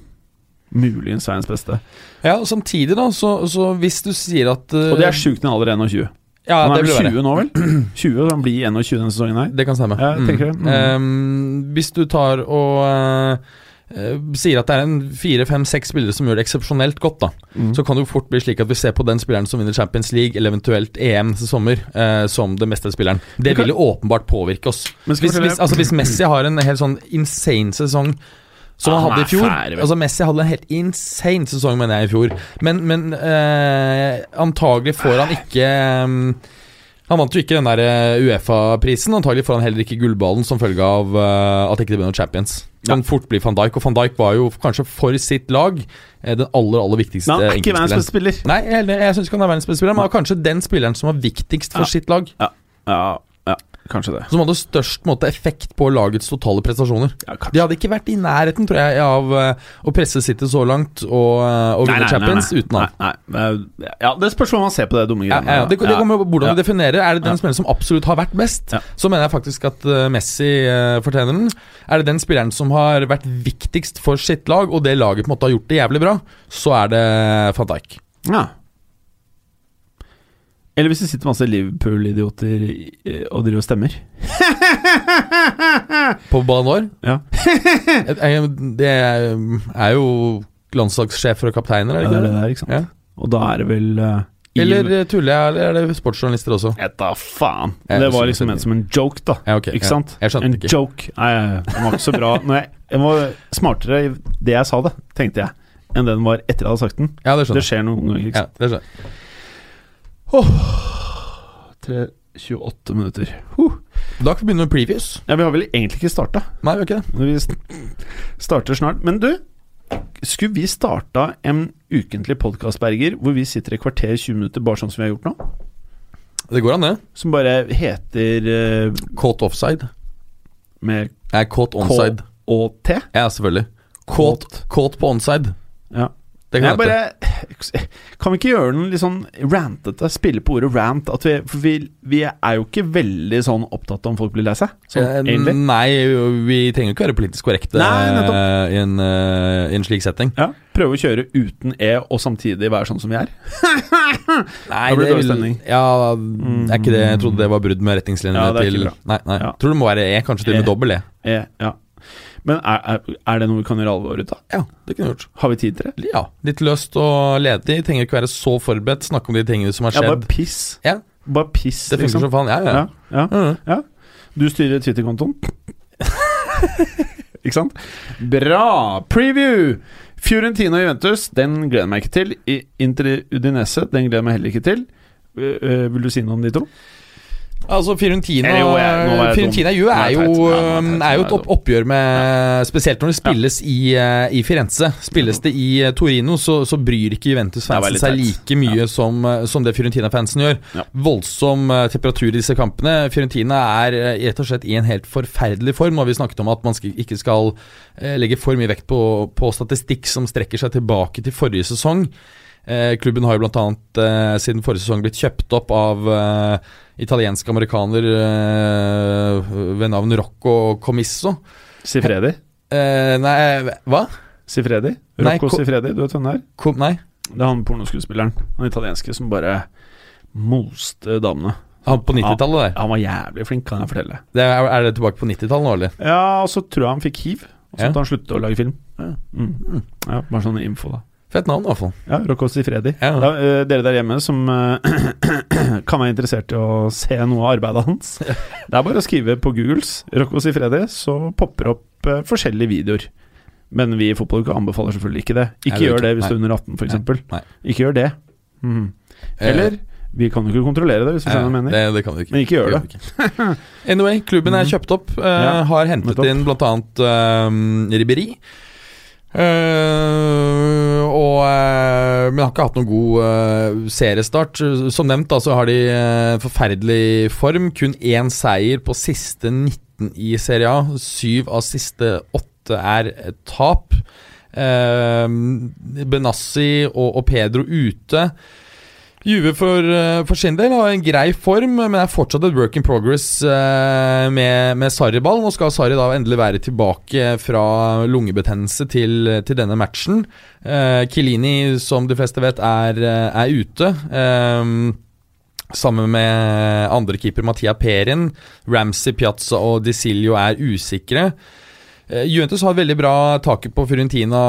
muligens verdens beste. Ja, og Samtidig, da, så, så hvis du sier at eh, Og det er sjukt når han allerede er 21. ja, Han det er blir vel verre. 20 nå, vel? 20, og han blir 21 denne sesongen her. Det kan stemme. Ja, jeg tenker det. Mm. Ehm, hvis du tar og eh, eh, sier at det er en fire, fem, seks spillere som gjør det eksepsjonelt godt, da, Mm. så kan det jo fort bli slik at vi ser på den spilleren som vinner Champions League, eller eventuelt EM til sommer, eh, som den beste spilleren. Det kan- vil jo åpenbart påvirke oss. Men Hvis, skal vi hvis, fortelle- altså, hvis Messi har en helt sånn insane sesong som Ja, han han hadde er i fjor fæl, vel. Altså Messi hadde en helt insane sesong, mener jeg, i fjor. Men, men eh, antagelig får han ikke eh, han vant jo ikke den der eh, Uefa-prisen. Antagelig får han heller ikke gullballen som følge av eh, at ikke det ble noen Champions. Kan fort bli van Dijk, og van Dijk var jo kanskje for sitt lag eh, den aller aller viktigste Men han er ikke verdens enkeltspilleren. beste spiller. Nei, jeg, er helt enig. jeg syns ikke han er verdens beste spiller, men han var kanskje den spilleren som var viktigst for Ja. sitt lag. Ja, ja, kanskje det. Som hadde størst på en måte, effekt på lagets totale prestasjoner. Ja, kanskje. De hadde ikke vært i nærheten, tror jeg, av eh, å presse City så langt og, eh, og vinne Champions uten han. Nei, nei. Ja, det spørs hvordan man ser på det dumme Ja, greiene. ja, ja. Det, det kommer jo på hvordan Ja. du definerer. Er det den Ja. spilleren som absolutt har vært best, Ja. så mener jeg faktisk at eh, Messi eh, fortjener den. Er det den spilleren som har vært viktigst for sitt lag, og det laget på en måte har gjort det jævlig bra, så er det van Dijk. Ja. Eller hvis det sitter masse Liverpool-idioter i- og driver og stemmer. På Ballon d'Or. Ja. Jeg- jeg- eh, Det er jo landslagssjefer og kapteiner, er Det det er det ikke det? der, ikke sant? Ja. Og da er det vel eh, i- Eller eh, tuller jeg, eller er det sportsjournalister også? Et da faen. Jeg Det var skjønner liksom ikke. ment som en joke, da. Ja, ok, Ikke ja. sant? Jeg skjønte en ikke. joke. Nei, den var ikke så bra. Nei, jeg var smartere i det jeg sa det, tenkte jeg, enn den var etter jeg hadde sagt den. Ja, det Det skjønner jeg. skjer noen ganger, ikke Ja, sant. det skjønner. jeg. 3, 28 minutter. Da kan vi begynne med previews. Ja, vi har vel egentlig ikke starta. Nei, vi gjør ikke det. Når vi st- starter snart. Men du, skulle vi starta en ukentlig podkast, Berger, hvor vi sitter et kvarter 20 minutter, bare sånn som vi har gjort nå? Det går an, det. Som bare heter eh, Caught offside. med Nei, caught onside. K og T? Ja, selvfølgelig. Caught, caught på onside. Ja. Det Jeg kan hende. bare, eh, kan vi ikke gjøre den litt sånn rantete? Spille på ordet rant? At vi, for vi, vi er jo ikke veldig sånn opptatt av om folk blir lei seg. Sånn, Eh, egentlig. Nei, vi trenger jo ikke være politisk korrekte Nei, nettopp. eh, i, en, eh, i en slik setting. Ja, Prøve å kjøre uten E og samtidig være sånn som vi er. Nei, Da blir det dårlig vil- stemning. Ja, er ikke det Jeg trodde det var brudd med retningslinjene Mm. Ja, det er ikke til bra. Nei, nei. Ja. Tror det må være E, kanskje til og med E. dobbel E. E, ja. Men er, er, er det noe vi kan gjøre alvor ut av? Ja, det kunne vi gjort. Har vi tid til det? Ja, litt løst og ledig. Trenger ikke være så forberedt. Snakke om de tingene som har Ja, bare skjedd. piss. Ja, Bare piss, liksom. det funker som faen. Ja, ja. Ja, ja, Mhm. ja. Du styrer Twitter-kontoen. ikke sant? Bra! Preview! Fiorentina og Juventus, den gleder jeg meg ikke til. I- Inter Udinese, den gleder jeg meg heller ikke til. Eh, eh, vil du si noe om de to? Altså, Fiorentina Eller jo, jeg- nå var jeg Fiorentina dum. jo Nå er er jeg jo, teit. Ja, nå er jeg um, er teit. jo Nå er et jeg opp oppgjør med Spesielt når det spilles i, eh, i Firenze. Spilles det i eh, Torino, så, så bryr ikke Det er Juventus-fansen veldig seg teit. like mye som, eh, som det Fiorentina-fansen gjør. Ja. Voldsom eh, temperatur i disse kampene. Fiorentina er eh, rett og slett i en helt forferdelig form. Nå har vi snakket om at man skal, ikke skal eh, legge for mye vekt på, på statistikk som strekker seg tilbake til forrige sesong. Eh, klubben har jo bl.a. Eh, siden forrige sesong blitt kjøpt opp av eh, italiensk amerikaner eh, ved navn Rocco Comisso. Sifredi? Eh, nei, hva? Sifredi? Nei, Rocco ko- Sifredi, du vet hvem det er? Kom, nei. Det er han pornoskuespilleren. Han italienske som bare moste damene. Han på 90-tallet der. Han var jævlig flink, kan jeg fortelle. Det er, er det tilbake på 90-tallet nå, eller? Ja, og så tror jeg han fikk hiv. Og så Ja. måtte han slutte å lage film. Ja, mm. ja Bare sånn info, da. Fett navn, i hvert fall. Ja, Rock Oss i Freddy. Ja. Da, eh, dere der hjemme som eh, kan være interessert i å se noe av arbeidet hans, det er bare å skrive på Googles 'Rock Oss i Freddy', så popper opp eh, forskjellige videoer. Men vi i fotballuka anbefaler selvfølgelig ikke det. Nei, Ikke det er gjør det ikke- hvis du er under 18, Nei, f.eks. nei. Ikke gjør det. Mm. Eller vi kan jo ikke kontrollere det, hvis du Eh, skjønner hva jeg mener. det, det kan du ikke. Men ikke gjør det. Mm. kan du ikke. anyway, klubben er kjøpt opp. eh, Ja, har hentet nettopp. inn bl.a. Uh, Ribberi. og, eh, men har ikke hatt noen god eh, seriestart. Som nevnt da, så har de eh, forferdelig form. Kun én seier på siste 19 i Serie A. Syv av siste åtte er eh, tap. Eh, Benassi og, og Pedro ute. Juve for, eh, for sin del har en grei form, men er fortsatt et work in progress eh, med, med Sarri-ball. Nå skal Sarri da endelig være tilbake fra lungebetennelse til, til denne matchen. Eh, Kilini, som de fleste vet, er, eh, er ute. Eh, Sammen med andre keeper Mattia Perin. Ramsey, Piazza og Disilio er usikre. Eh, Juventus har veldig bra taket på Fiorentina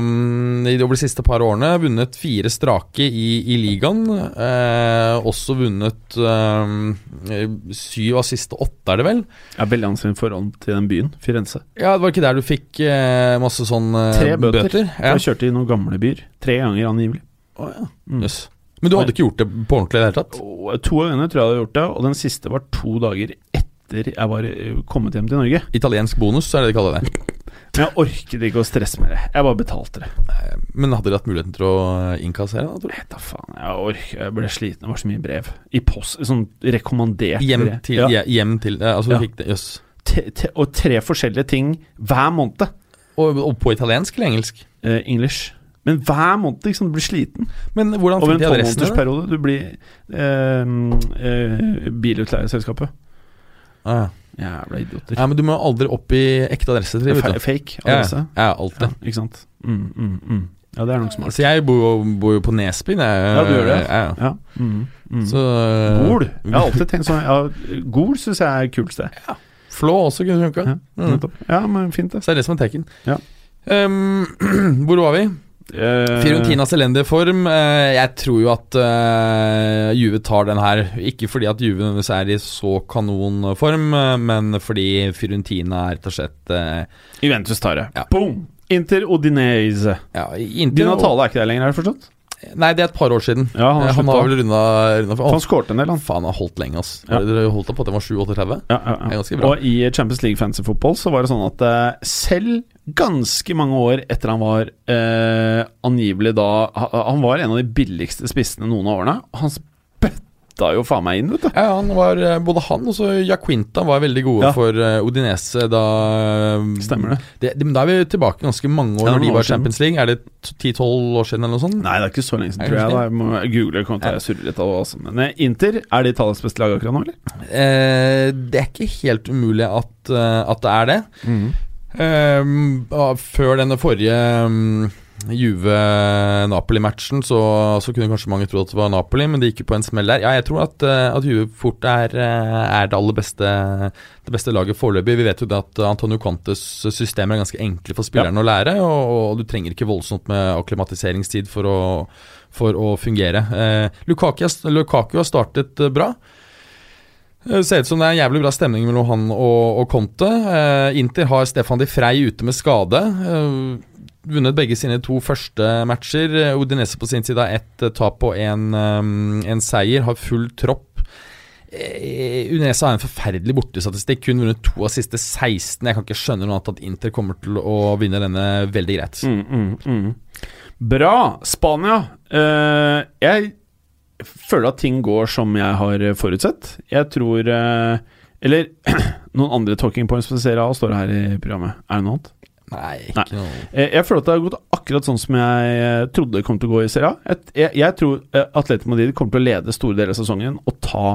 mm, i de over de siste par årene. Vunnet fire strake i, i ligaen. Eh, også vunnet eh, syv av siste åtte, er det vel? Jeg er veldig anstrengt forhold til den byen, Firenze. Ja, det var ikke der du fikk eh, masse sånn eh, Tre bøter. Ja. Jeg kjørte i noen gamle byer. Tre ganger angivelig. Å, ja. Mm. Jøss. Men du hadde ikke gjort det på ordentlig i det hele tatt? Og To av øynene tror jeg jeg hadde gjort det, og den siste var to dager etter jeg var eh, kommet hjem til Norge. Italiensk bonus, er det de kaller det. Men jeg orket ikke å stresse med det. Jeg bare betalte det. Men hadde de hatt muligheten til å eh, innkassere? Da, tror du? Nei, da faen. Jeg, ork, jeg ble sliten. Det var så mye brev. I post. Sånn rekommandert Hjem brev. til, ja. ja. hjem til eh, Altså, du Ja. fikk det Jøss. te, te, Og tre forskjellige ting hver måned. Og, og på italiensk eller engelsk? Eh, English. Men hver måned, liksom. Du blir sliten. Men hvordan Over fikk en de adressen? din, da? tolvmånedersperiode. Du blir eh, eh, bilutleieselskapet. Ah, ja. Jævla idioter. Ja, men du må aldri opp i ekte adresse. Til, Fe- vet du. Fake Ja, adresse. ja, alltid. Ja, ikke sant. Mm, mm, mm. Ja, det er nok smart. Så jeg bor jo, bor jo på Nesbyen. Jeg, Ja, du gjør det. Ja, ja. Ja. Mm, mm. Så Eh, Gol. Jeg har alltid tenkt sånn. Ja, Gol syns jeg er kult sted. Flå også kunne funka. Ja, Mm. nettopp. ja men fint, det. Så det er det som er teken. Ja. Um, hvor var vi? Eh. Eh, Fiorentinas elendige form. Eh, jeg tror jo at eh, Juve tar den her. Ikke fordi at Juve nødvendigvis er i så kanonform, eh, men fordi Fiorentina er rett og slett eh, Juventus tar det. Ja. Boom! Inter Odinese. ja, inntil- Din Natale er ikke der lenger, er det forstått? Nei, det er et par år siden. Eh, Ja, han han, har sluttet. har vel runda, runda For han skårte en del, han. Faen, jeg har holdt lenge, ass. Ja. Dere holdt da på at den var 7-38? Ja, ja, Det er ganske ja. bra. Og i Champions League Fancy Football så var det sånn at eh, selv ganske mange år etter han var eh, angivelig da ha- Han var en av de billigste spissene noen av årene. Han spytta henta jo faen meg inn, vet du. Ja, han var, eh, Både han og så Jaquinta var veldig gode Ja. for eh, Odinese da Stemmer det. det, men Da er vi tilbake ganske mange år Ja, når de noen år var siden. Champions League. Er det t- 10-12 år siden eller noe sånt? Nei, det er ikke så lenge Er siden, tror det jeg. ikke? da. Jeg må google, kommer til å surre litt av det også. Men eh, Inter, er de Italias beste lag akkurat nå, eller? Eh, det er ikke helt umulig at, eh, at det er det. Ehm, ah, før denne forrige mm, Juve-Napoli-matchen så, så kunne kanskje mange tro at det var Napoli, men det gikk jo på en smell der. Ja, jeg tror at, eh, at Juve fort er, eh, er det aller beste, det beste laget foreløpig. Vi vet jo det at Antonio Contes systemer er ganske enkle for spillerne å lære, og, og du trenger ikke voldsomt med akklimatiseringstid for å, for å fungere. Eh, Lukaku, har- Lukaku har startet eh, bra. Det Eh, ser ut som det er en jævlig bra stemning mellom han og, og Conte. Eh, Inter har Stefan de Frey ute med skade. Eh, vunnet begge sine to første matcher. Eh, Udinese på sin side har ett eh, tap og en, eh, en seier. Har full tropp. Eh, Udinese har en forferdelig bortestatistikk. Kun vunnet to av siste 16. Jeg kan ikke skjønne noe annet at Inter kommer til å vinne denne veldig greit. Mm. Bra! Spania. Eh, jeg føler at ting går som jeg har eh, forutsett. Jeg tror eh, Eller noen andre talking points på Serie A står her i programmet. Er det noe annet? Nei, ikke noe Eh, Jeg føler at det har gått akkurat sånn som jeg eh, trodde det kom til å gå i Serie A. Et- Jeg, jeg tror eh, Atletico Madrid kommer til å lede store deler av sesongen og ta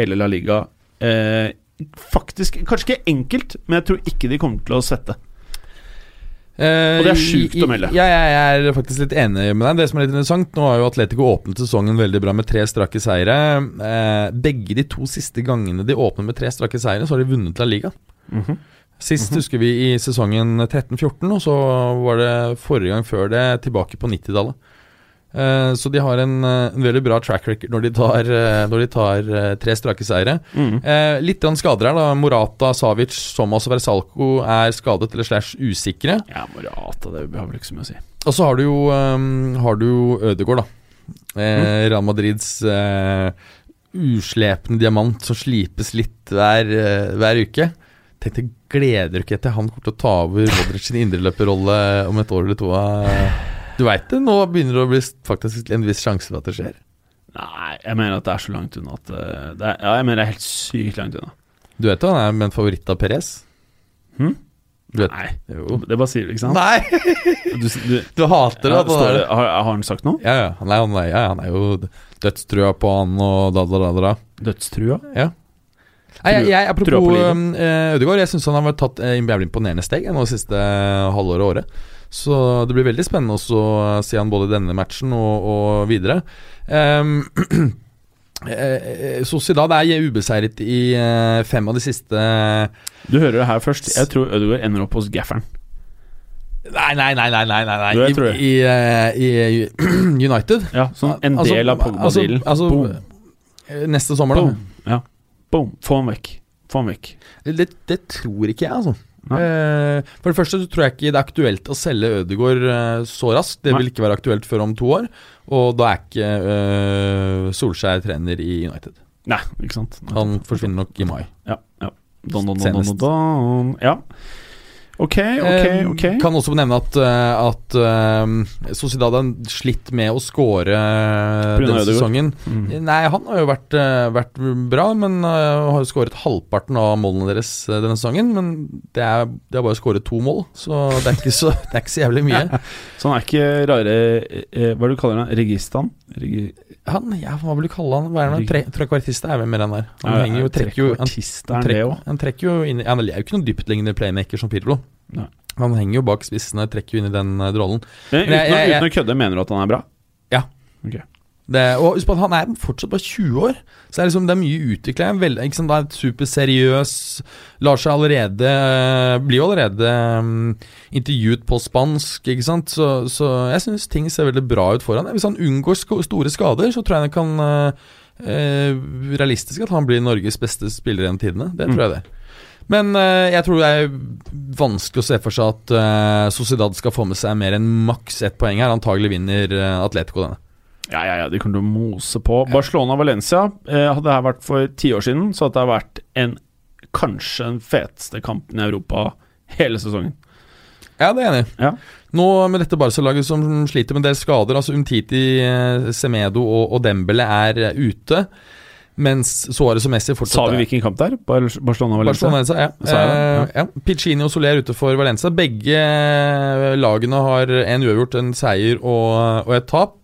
hele La Liga. Eh, faktisk Kanskje ikke enkelt, men jeg tror ikke de kommer til å svette. Eh, Og det er i- sjukt i- å melde. Ja, jeg er faktisk litt enig med deg. Det som er litt interessant, nå har jo Atletico åpnet sesongen veldig bra med tre strake seire. Eh, begge de to siste gangene de åpnet med tre strake seire, så har de vunnet La Liga. Mhm. Sist husker vi i sesongen 13-14, og så var det forrige gang før det tilbake på 90-tallet. Eh, Så de har en, eh, en veldig bra track record når de tar, eh, når de tar eh, tre strake seire. Mhm. Eh, Litt grann skader her, da. Morata, Savic, Thomas og Versalco er skadet eller slash usikre. Ja, Morata, det har vel ikke så mye å si. Og så har du jo um, Har du jo Ødegaard, da. Eh, Mm. Real Madrids eh, uslepne diamant som slipes litt hver, eh, hver uke. Tenk deg, gleder du ikke til han kommer til å ta over Modric sin indreløperrolle om et år eller to? eh? Du veit det, nå begynner det å bli faktisk en viss sjanse for at det skjer. Nei, jeg mener at det er så langt unna at eh, det er, Ja, jeg mener det er helt sykt langt unna. Du vet jo han er med en favoritt av Perez? Hm? Du vet, Nei, Jo. det bare sier du, ikke sant? Nei! Du, du, Du hater det. ja, at han står er det, har, har han sagt noe? Ja, ja. Han er, han er, ja, han er jo dødstrua på han og da, da, da, da. da. Dødstrua? Ja. Nei, jeg, jeg, Trua apropos på livet. um, eh, Ødegaard, jeg syns han har tatt eh, jævlig imponerende steg nå det siste eh, halvåret og året. Så det blir veldig spennende også å se han både i denne matchen og, og videre. Um, eh, eh, Sociedad er ubeseiret i eh, fem av de siste eh, Nei, Du hører det her først. Jeg tror Ødegaard ender opp hos gafferen. nei, nei, nei, nei, nei, nei. Jo, jeg I, tror det. i, eh, i United. Ja, sånn en Altså- del av Pogba-dealen. Altså, Boom. altså, neste sommer, da. Boom. Ja. Boom. Få ham vekk. Få ham vekk. Det, det tror ikke jeg, altså. Nei. Eh, for det første så tror jeg ikke det er aktuelt å selge Ødegaard eh, så raskt. Det Nei. vil ikke være aktuelt før om to år. Og da er ikke eh, Solskjær trener i United. Nei, ikke sant. Nei. Han forsvinner nok i mai. Ja. ja. Don, don, don, don, Senest. don, don. Ja. Ok, ok, Eh, ok. Kan også nevne at, eh, at eh, Sociedad har slitt med å score eh, På grunn denne av Ødegaard? sesongen. Mm. Nei, han har jo vært, eh, vært bra, men eh, har jo skåret halvparten av målene deres eh, denne sesongen. Men det er, det er bare skåret to mål, så det er ikke så, det er ikke så jævlig mye. Så han sånn er ikke rare eh, Hva er det du kaller han? Registan? Regi Han, ja, hva vil du kalle han? Hva er det med tre, trekvartist er vel mer enn der? Han Nei, henger jo, trekker jo han, trekkortist, er han det trekker, også? han trekker jo inn i Han er jo ikke noen dyptliggende playmaker som Pirlo. Nei. Han henger jo bak spissene, trekker jo inn i den eh, rollen. Eh, Uten, jeg- å- jeg- uten å kødde, mener du at han er bra? Ja. Ok. Det, og husk på at han er fortsatt bare 20 år, så det er, liksom, det er mye utvikling. Vel, ikke sant, han er superseriøs, lar seg allerede eh, Blir jo allerede mm, intervjuet på spansk, ikke sant. Så, så jeg syns ting ser veldig bra ut for han. Hvis han unngår sko store skader, så tror jeg det kan eh, eh, Realistisk at han blir Norges beste spiller gjennom tidene. Det tror jeg det. Men eh, jeg tror det er vanskelig å se for seg at eh, Sociedad skal få med seg mer enn maks ett poeng her. Antagelig vinner eh, Atletico denne. Ja, ja, ja, de kommer til å mose på. Barcelona-Valencia eh, hadde det her vært for ti år siden, så hadde det vært en, kanskje den feteste kampen i Europa hele sesongen. Ja, det er jeg enig. i. Ja. Nå med dette Barca-laget som sliter med en del skader, altså Umtiti, eh, Semedo og, og Dembele er eh, ute. Mens Suárez og Messi fortsatt Sa vi er- hvilken kamp det er? Bar- Barcelona og Valencia? Barcelona, ja. Sa jeg det? Eh, ja. Piccini og Soler ute for Valencia. Begge eh, lagene har en uavgjort, en seier og, og et tap.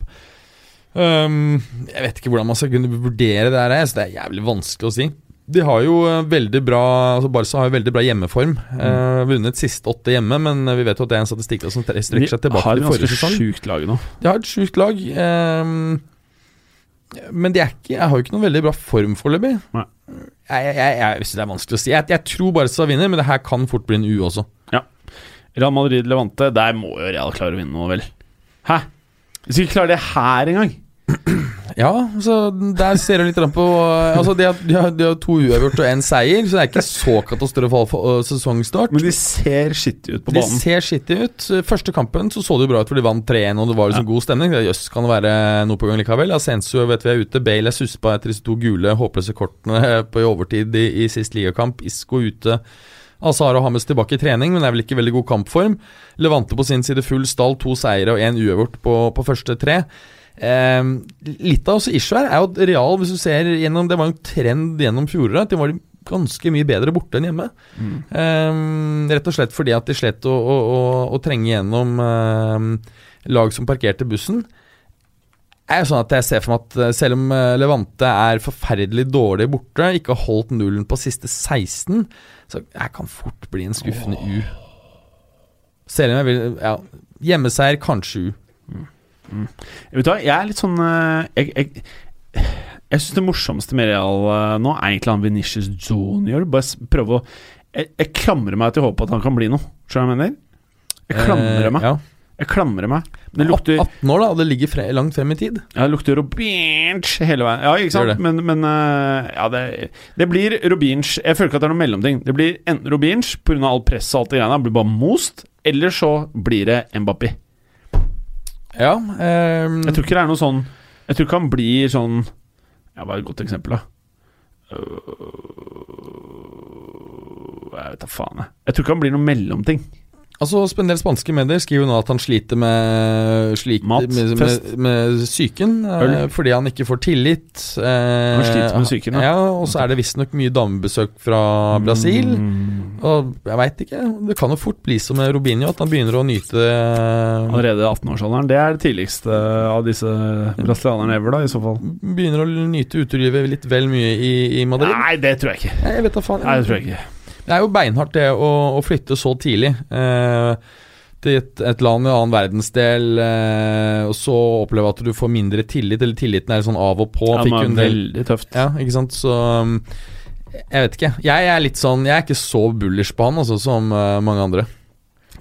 Um, jeg vet ikke hvordan man skal kunne vurdere det her, jeg, så det er jævlig vanskelig å si. De har jo eh, veldig bra altså Barca har jo veldig bra hjemmeform. Mm. Eh, vunnet siste åtte hjemme, men eh, vi vet jo at det er en statistikk som tre- Vi strekker seg tilbake har et til forrige ganske sesong. sjukt lag nå. De har et sjukt lag. ehm, men de er ikke, jeg har jo ikke noen veldig bra form foreløpig. Nei. Jeg, jeg, jeg, jeg synes det er vanskelig å si. Jeg, jeg tror Barca vinner, men det her kan fort bli en U også. Real Madrid Levante, der må jo Real klare å vinne noe, vel? Hæ? Hvis vi ikke klarer det her engang Ja, så der ser du litt rann på altså de, har, de, har, de har to uavgjort og én seier, så det er ikke så katastrofal for, øh, sesongstart. Men de ser skittige ut på De banen. ser skittig ut. Første kampen så, så det jo bra ut, for de vant 3-1, og det var liksom god stemning. Ja, Jøss, kan det være noe på gang likevel? Asensio vet vi er ute. Bale er suspa etter disse to gule håpløse kortene på i overtid i, i sist ligakamp. Isco ute. Azar og Hammes tilbake i trening, men er vel ikke i veldig god kampform. Levante på sin side full stall, to seire og én uavgjort på, på første tre. Eh, litt av også issue her er jo at Real, hvis du ser gjennom Det var jo en trend gjennom fjoråret at de var ganske mye bedre borte enn hjemme. Ehm, rett og slett fordi at de slet å, å, å, å trenge gjennom ehm, lag som parkerte bussen. Er jo sånn at jeg ser for meg at eh, Selv om eh, Levante er forferdelig dårlig borte, ikke har holdt nullen på siste 16, så jeg kan fort bli en skuffende U. Selv om jeg vil ja, Hjemmeseier, kanskje U. Vet du hva, jeg er litt sånn eh, Jeg, jeg, jeg syns det morsomste med Real eh, nå er egentlig han Venitius Junior. Bare s- prøve å jeg, jeg klamrer meg til håpet at han kan bli noe. Skjønner du hva jeg mener? Jeg Eh, klamrer meg. ja. Jeg klamrer meg. Men det lukter, 18 år, da, og det ligger fre langt frem i tid. ja, det lukter Robinch hele veien. Ja, ikke Gjør sant? det. Men, men eh, ja, det, det blir Robinch. Jeg føler ikke at det er noen mellomting. Det blir enten Robinch pga. all presset og alt det greiene, han blir bare most, eller så blir det Mbappé. Ja, ehm, Jeg tror ikke det er noe sånn Jeg tror ikke han blir sånn Ja, bare et godt eksempel, da. Øh, Jeg vet da faen, jeg. Jeg tror ikke han blir noe mellomting. Altså, En del spanske medier skriver nå at han sliter med, sliter Mat, med, fest. med, med psyken eh, Øl. fordi han ikke får tillit. eh, Han sliter med psyken, ja. Mm. ja. Og så er det visstnok mye damebesøk fra Brasil. Og jeg veit ikke. Det kan jo fort bli som med Robinho, at han begynner å nyte eh, Allerede i 18-årsalderen. Det er det tidligste eh, av disse brasilianerne ever, da, i så fall. Begynner å nyte utelivet litt vel mye i, i Madrid. Nei, det tror jeg ikke. Nei, Jeg vet da faen. Nei, det tror jeg ikke. Det er jo beinhardt det å, å flytte så tidlig. Eh, til et, et land i en annen verdensdel, eh, og så oppleve at du får mindre tillit, eller tilliten er sånn av og på. Ja, fikk men hun del- veldig tøft. ja, ikke sant? Så um, jeg vet ikke. Jeg er litt sånn Jeg er ikke så bullish på han altså, som eh, mange andre.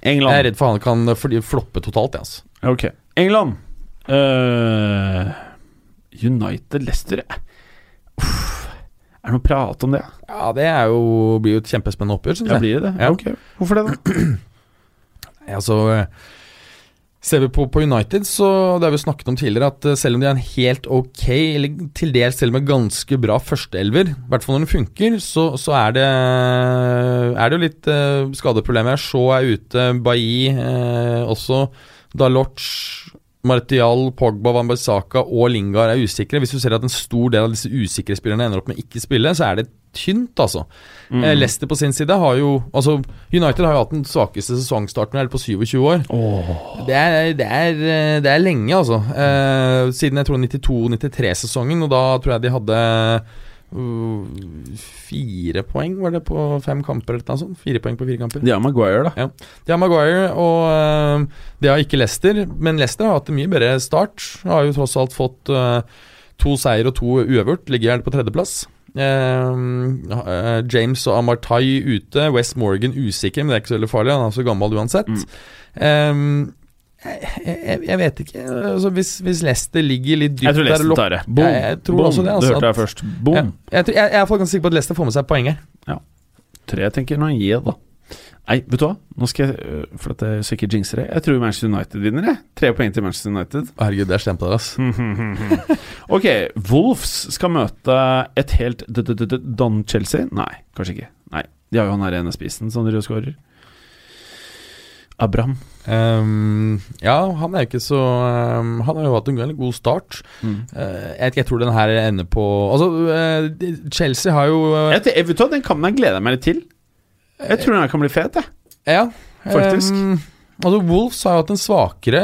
Jeg er England. redd for han kan fly- floppe totalt. jeg, Altså. Ok. England. Eh, United Leicester Uff. Er det noe prat om det? Ja, det er jo, blir jo et kjempespennende oppgjør, syns Ja, jeg. blir det det? Ja. Ok. Hvorfor det, da? Nei, Altså, eh, ser vi på, på United, så det har vi snakket om tidligere, at eh, selv om de er en helt ok, eller til dels selv med ganske bra førsteelver, i hvert fall når den funker, så, så er, det, er det jo litt eh, skadeproblemer her. Shaw er ute, Bailly eh, også, Dalot, Martial, Pogba, Van Bissaka og Lingard er usikre. Hvis du ser at en stor del av disse usikre spillerne ender opp med ikke spille, så er det tynt, altså. Eh, Leicester på sin side har jo Altså, United har jo hatt den svakeste sesongstarten her på 27 år. Det, er, det, er, eh, det er lenge, altså. Eh, siden jeg tror 92-93-sesongen, og da tror jeg de hadde uh, fire poeng, var det, på fem kamper eller noe sånt? Fire poeng på fire kamper. De har Maguire, da. De har Maguire, og eh, det har ikke Leicester. Men Leicester har hatt en mye bedre start. Har jo tross alt fått eh, to seier og to uavgjort. Ligger gjerne på tredjeplass. Eh, eh, James og Amartay ute. West Morgan usikker, men det er ikke så veldig farlig. Han er så gammel uansett. Eh, jeg, jeg, jeg vet ikke. Altså, hvis, hvis Leicester ligger litt dypt Jeg tror der Leicester og tar det. Ja, jeg tror Boom. også det, altså, du hørte at- det først. Boom. Ja, jeg, tror- jeg, jeg er i hvert fall ganske sikker på at Leicester får med seg poenget. Tre tenker nå gir jeg, da. Nei, vet du hva? Nå skal jeg øh, For at jeg så ikke jinxer det. Jeg tror Manchester United vinner, jeg. Tre poeng til Manchester United. Herregud, det er stemt av deg, ass. Ok, Wolves skal møte et helt d- d- d- d- Don Chelsea? Nei, kanskje ikke. Nei, De har jo han her ene spissen som driver og skårer. Abraham. Ehm, ja, han er jo ikke så ehm, Han har jo hatt en veldig god start. Eh, jeg, jeg tror den her ender på Altså, eh, de- Chelsea har jo eh, Jeg, jeg, vet du hva, Den kampen her gleder jeg meg litt til. Jeg tror den her kan bli fet. jeg Ja, Faktisk. ehm, altså Wolves har jo hatt en svakere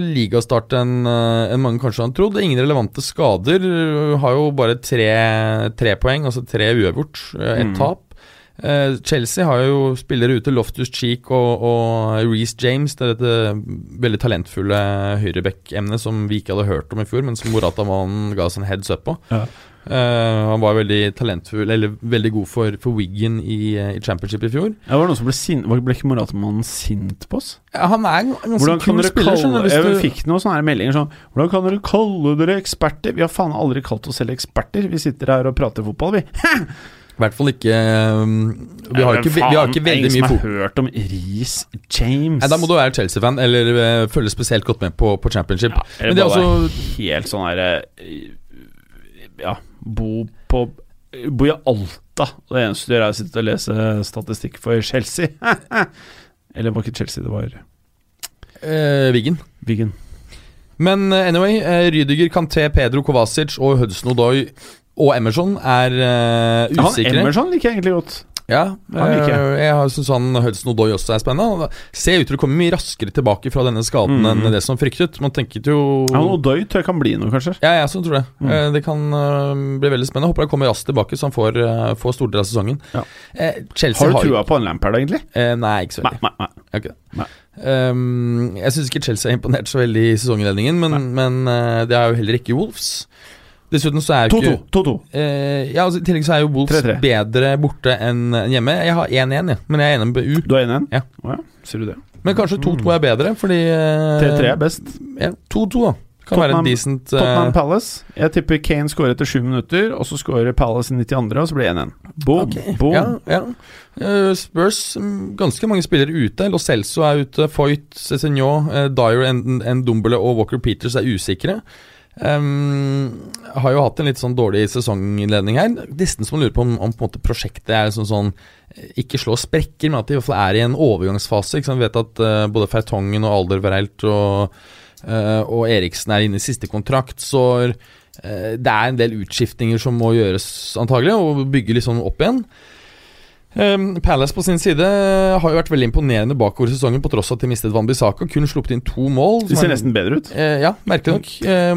eh, ligastart enn eh, enn mange kanskje hadde trodd. Ingen relevante skader. eh, Har jo bare tre, tre poeng, altså tre uavgjort, eh, ett tap. Eh, Chelsea har jo spillere ute, Loftus Cheek og, og Reece James. Det er dette veldig talentfulle høyreback-emnet som vi ikke hadde hørt om i fjor, men som Morata-mannen ga oss en heads up på. Eh, han var veldig talentfull, eller veldig god for, for Wiggen i, eh, i championship i fjor. Det var noen som ble sint Var- Ble ikke Moratamannen sint på oss? Ja, Han er en ganske Hvordan kan kul dere spiller, kalle skjønner du. hvis Jeg du- fikk noen sånne her meldinger sånn Hvordan kan dere kalle dere eksperter? Vi har faen aldri kalt oss selv eksperter. Vi sitter her og prater fotball, vi. I hvert fall ikke um, Vi har Ja, men ikke, ve- vi har ikke faen, det er veldig mye Ingen fokus. som har hørt om Reece James. Nei, da må du være Chelsea-fan, eller eh, følge spesielt godt med på, på championship. ja, Men det er altså, også helt sånn her eh, Ja, bo på Bo i Alta. Og Det eneste du gjør, er å sitte og lese statistikk for Chelsea. Eller var ikke Chelsea, det var eh, Wiggen. Wiggen. Men eh, anyway, eh, Rydiger, Kanté, Pedro Kovacic og Hudson Odoi og Emerson er eh, Han usikre. Emerson liker jeg egentlig godt. Ja, Han liker jeg. eh, jeg syns han Hudson Odoi også er spennende. Han Ser ut til å komme mye raskere tilbake fra denne skaden Mm. enn det som fryktet. Man tenket jo Han Odoi tror jeg kan bli noe, kanskje. Ja, jeg også tror det. Mm. Eh, Det kan eh, bli veldig spennende. Håper han kommer raskt tilbake, så han får, eh, får stor del av sesongen. Ja. Eh, Chelsea Har du har trua på han Lampard, egentlig? Eh, nei, ikke så Nei, veldig. nei, nei. Jeg har ikke det. Nei. Ehm, jeg syns ikke Chelsea har imponert så veldig i sesonginnledningen, men, men eh, det er jo heller ikke Wolves. Dessuten så er jo 2-2. ikke 2-2. Eh, ja, altså, I tillegg så er jo Wolves 3-3. bedre borte enn enn hjemme. Jeg har 1-1, jeg, men jeg er enig med BU. Du er enig i den? Ja. Å ja. Sier du det. Men kanskje 2-2 Mm. er bedre, fordi 3-3 eh, er best. ja, 2-2 da kan være Tottenham- en decent eh, Tottenham Palace. Jeg tipper Kane scorer etter 7 minutter, og så scorer Palace i 92., og så blir det 1-1. Boom, Ok, boom. Ja, ja. Eh, Spurs, mm, ganske mange spillere ute. Lo Celso er ute. Foyt, Cézinho, uh, Dyer, Ndombele og Walker Peters er usikre. Um, har jo hatt en litt sånn dårlig sesonginnledning her. Nesten som man lurer på om, om på en måte prosjektet er sånn sånn eh, Ikke slå sprekker, men at de i hvert fall er i en overgangsfase. Ikke sant? Vi vet at eh, både Fertongen og Alder Verheilt og, eh, og Eriksen er inne i siste kontrakt, så eh, det er en del utskiftinger som må gjøres, antagelig, og bygge litt sånn opp igjen. Um, Palace på sin side har jo vært veldig imponerende bakover i sesongen, på tross av at de mistet Van Bissaka. Kun sluppet inn to mål. De som ser er- nesten bedre ut. Eh, ja, merkelig nok. Eh,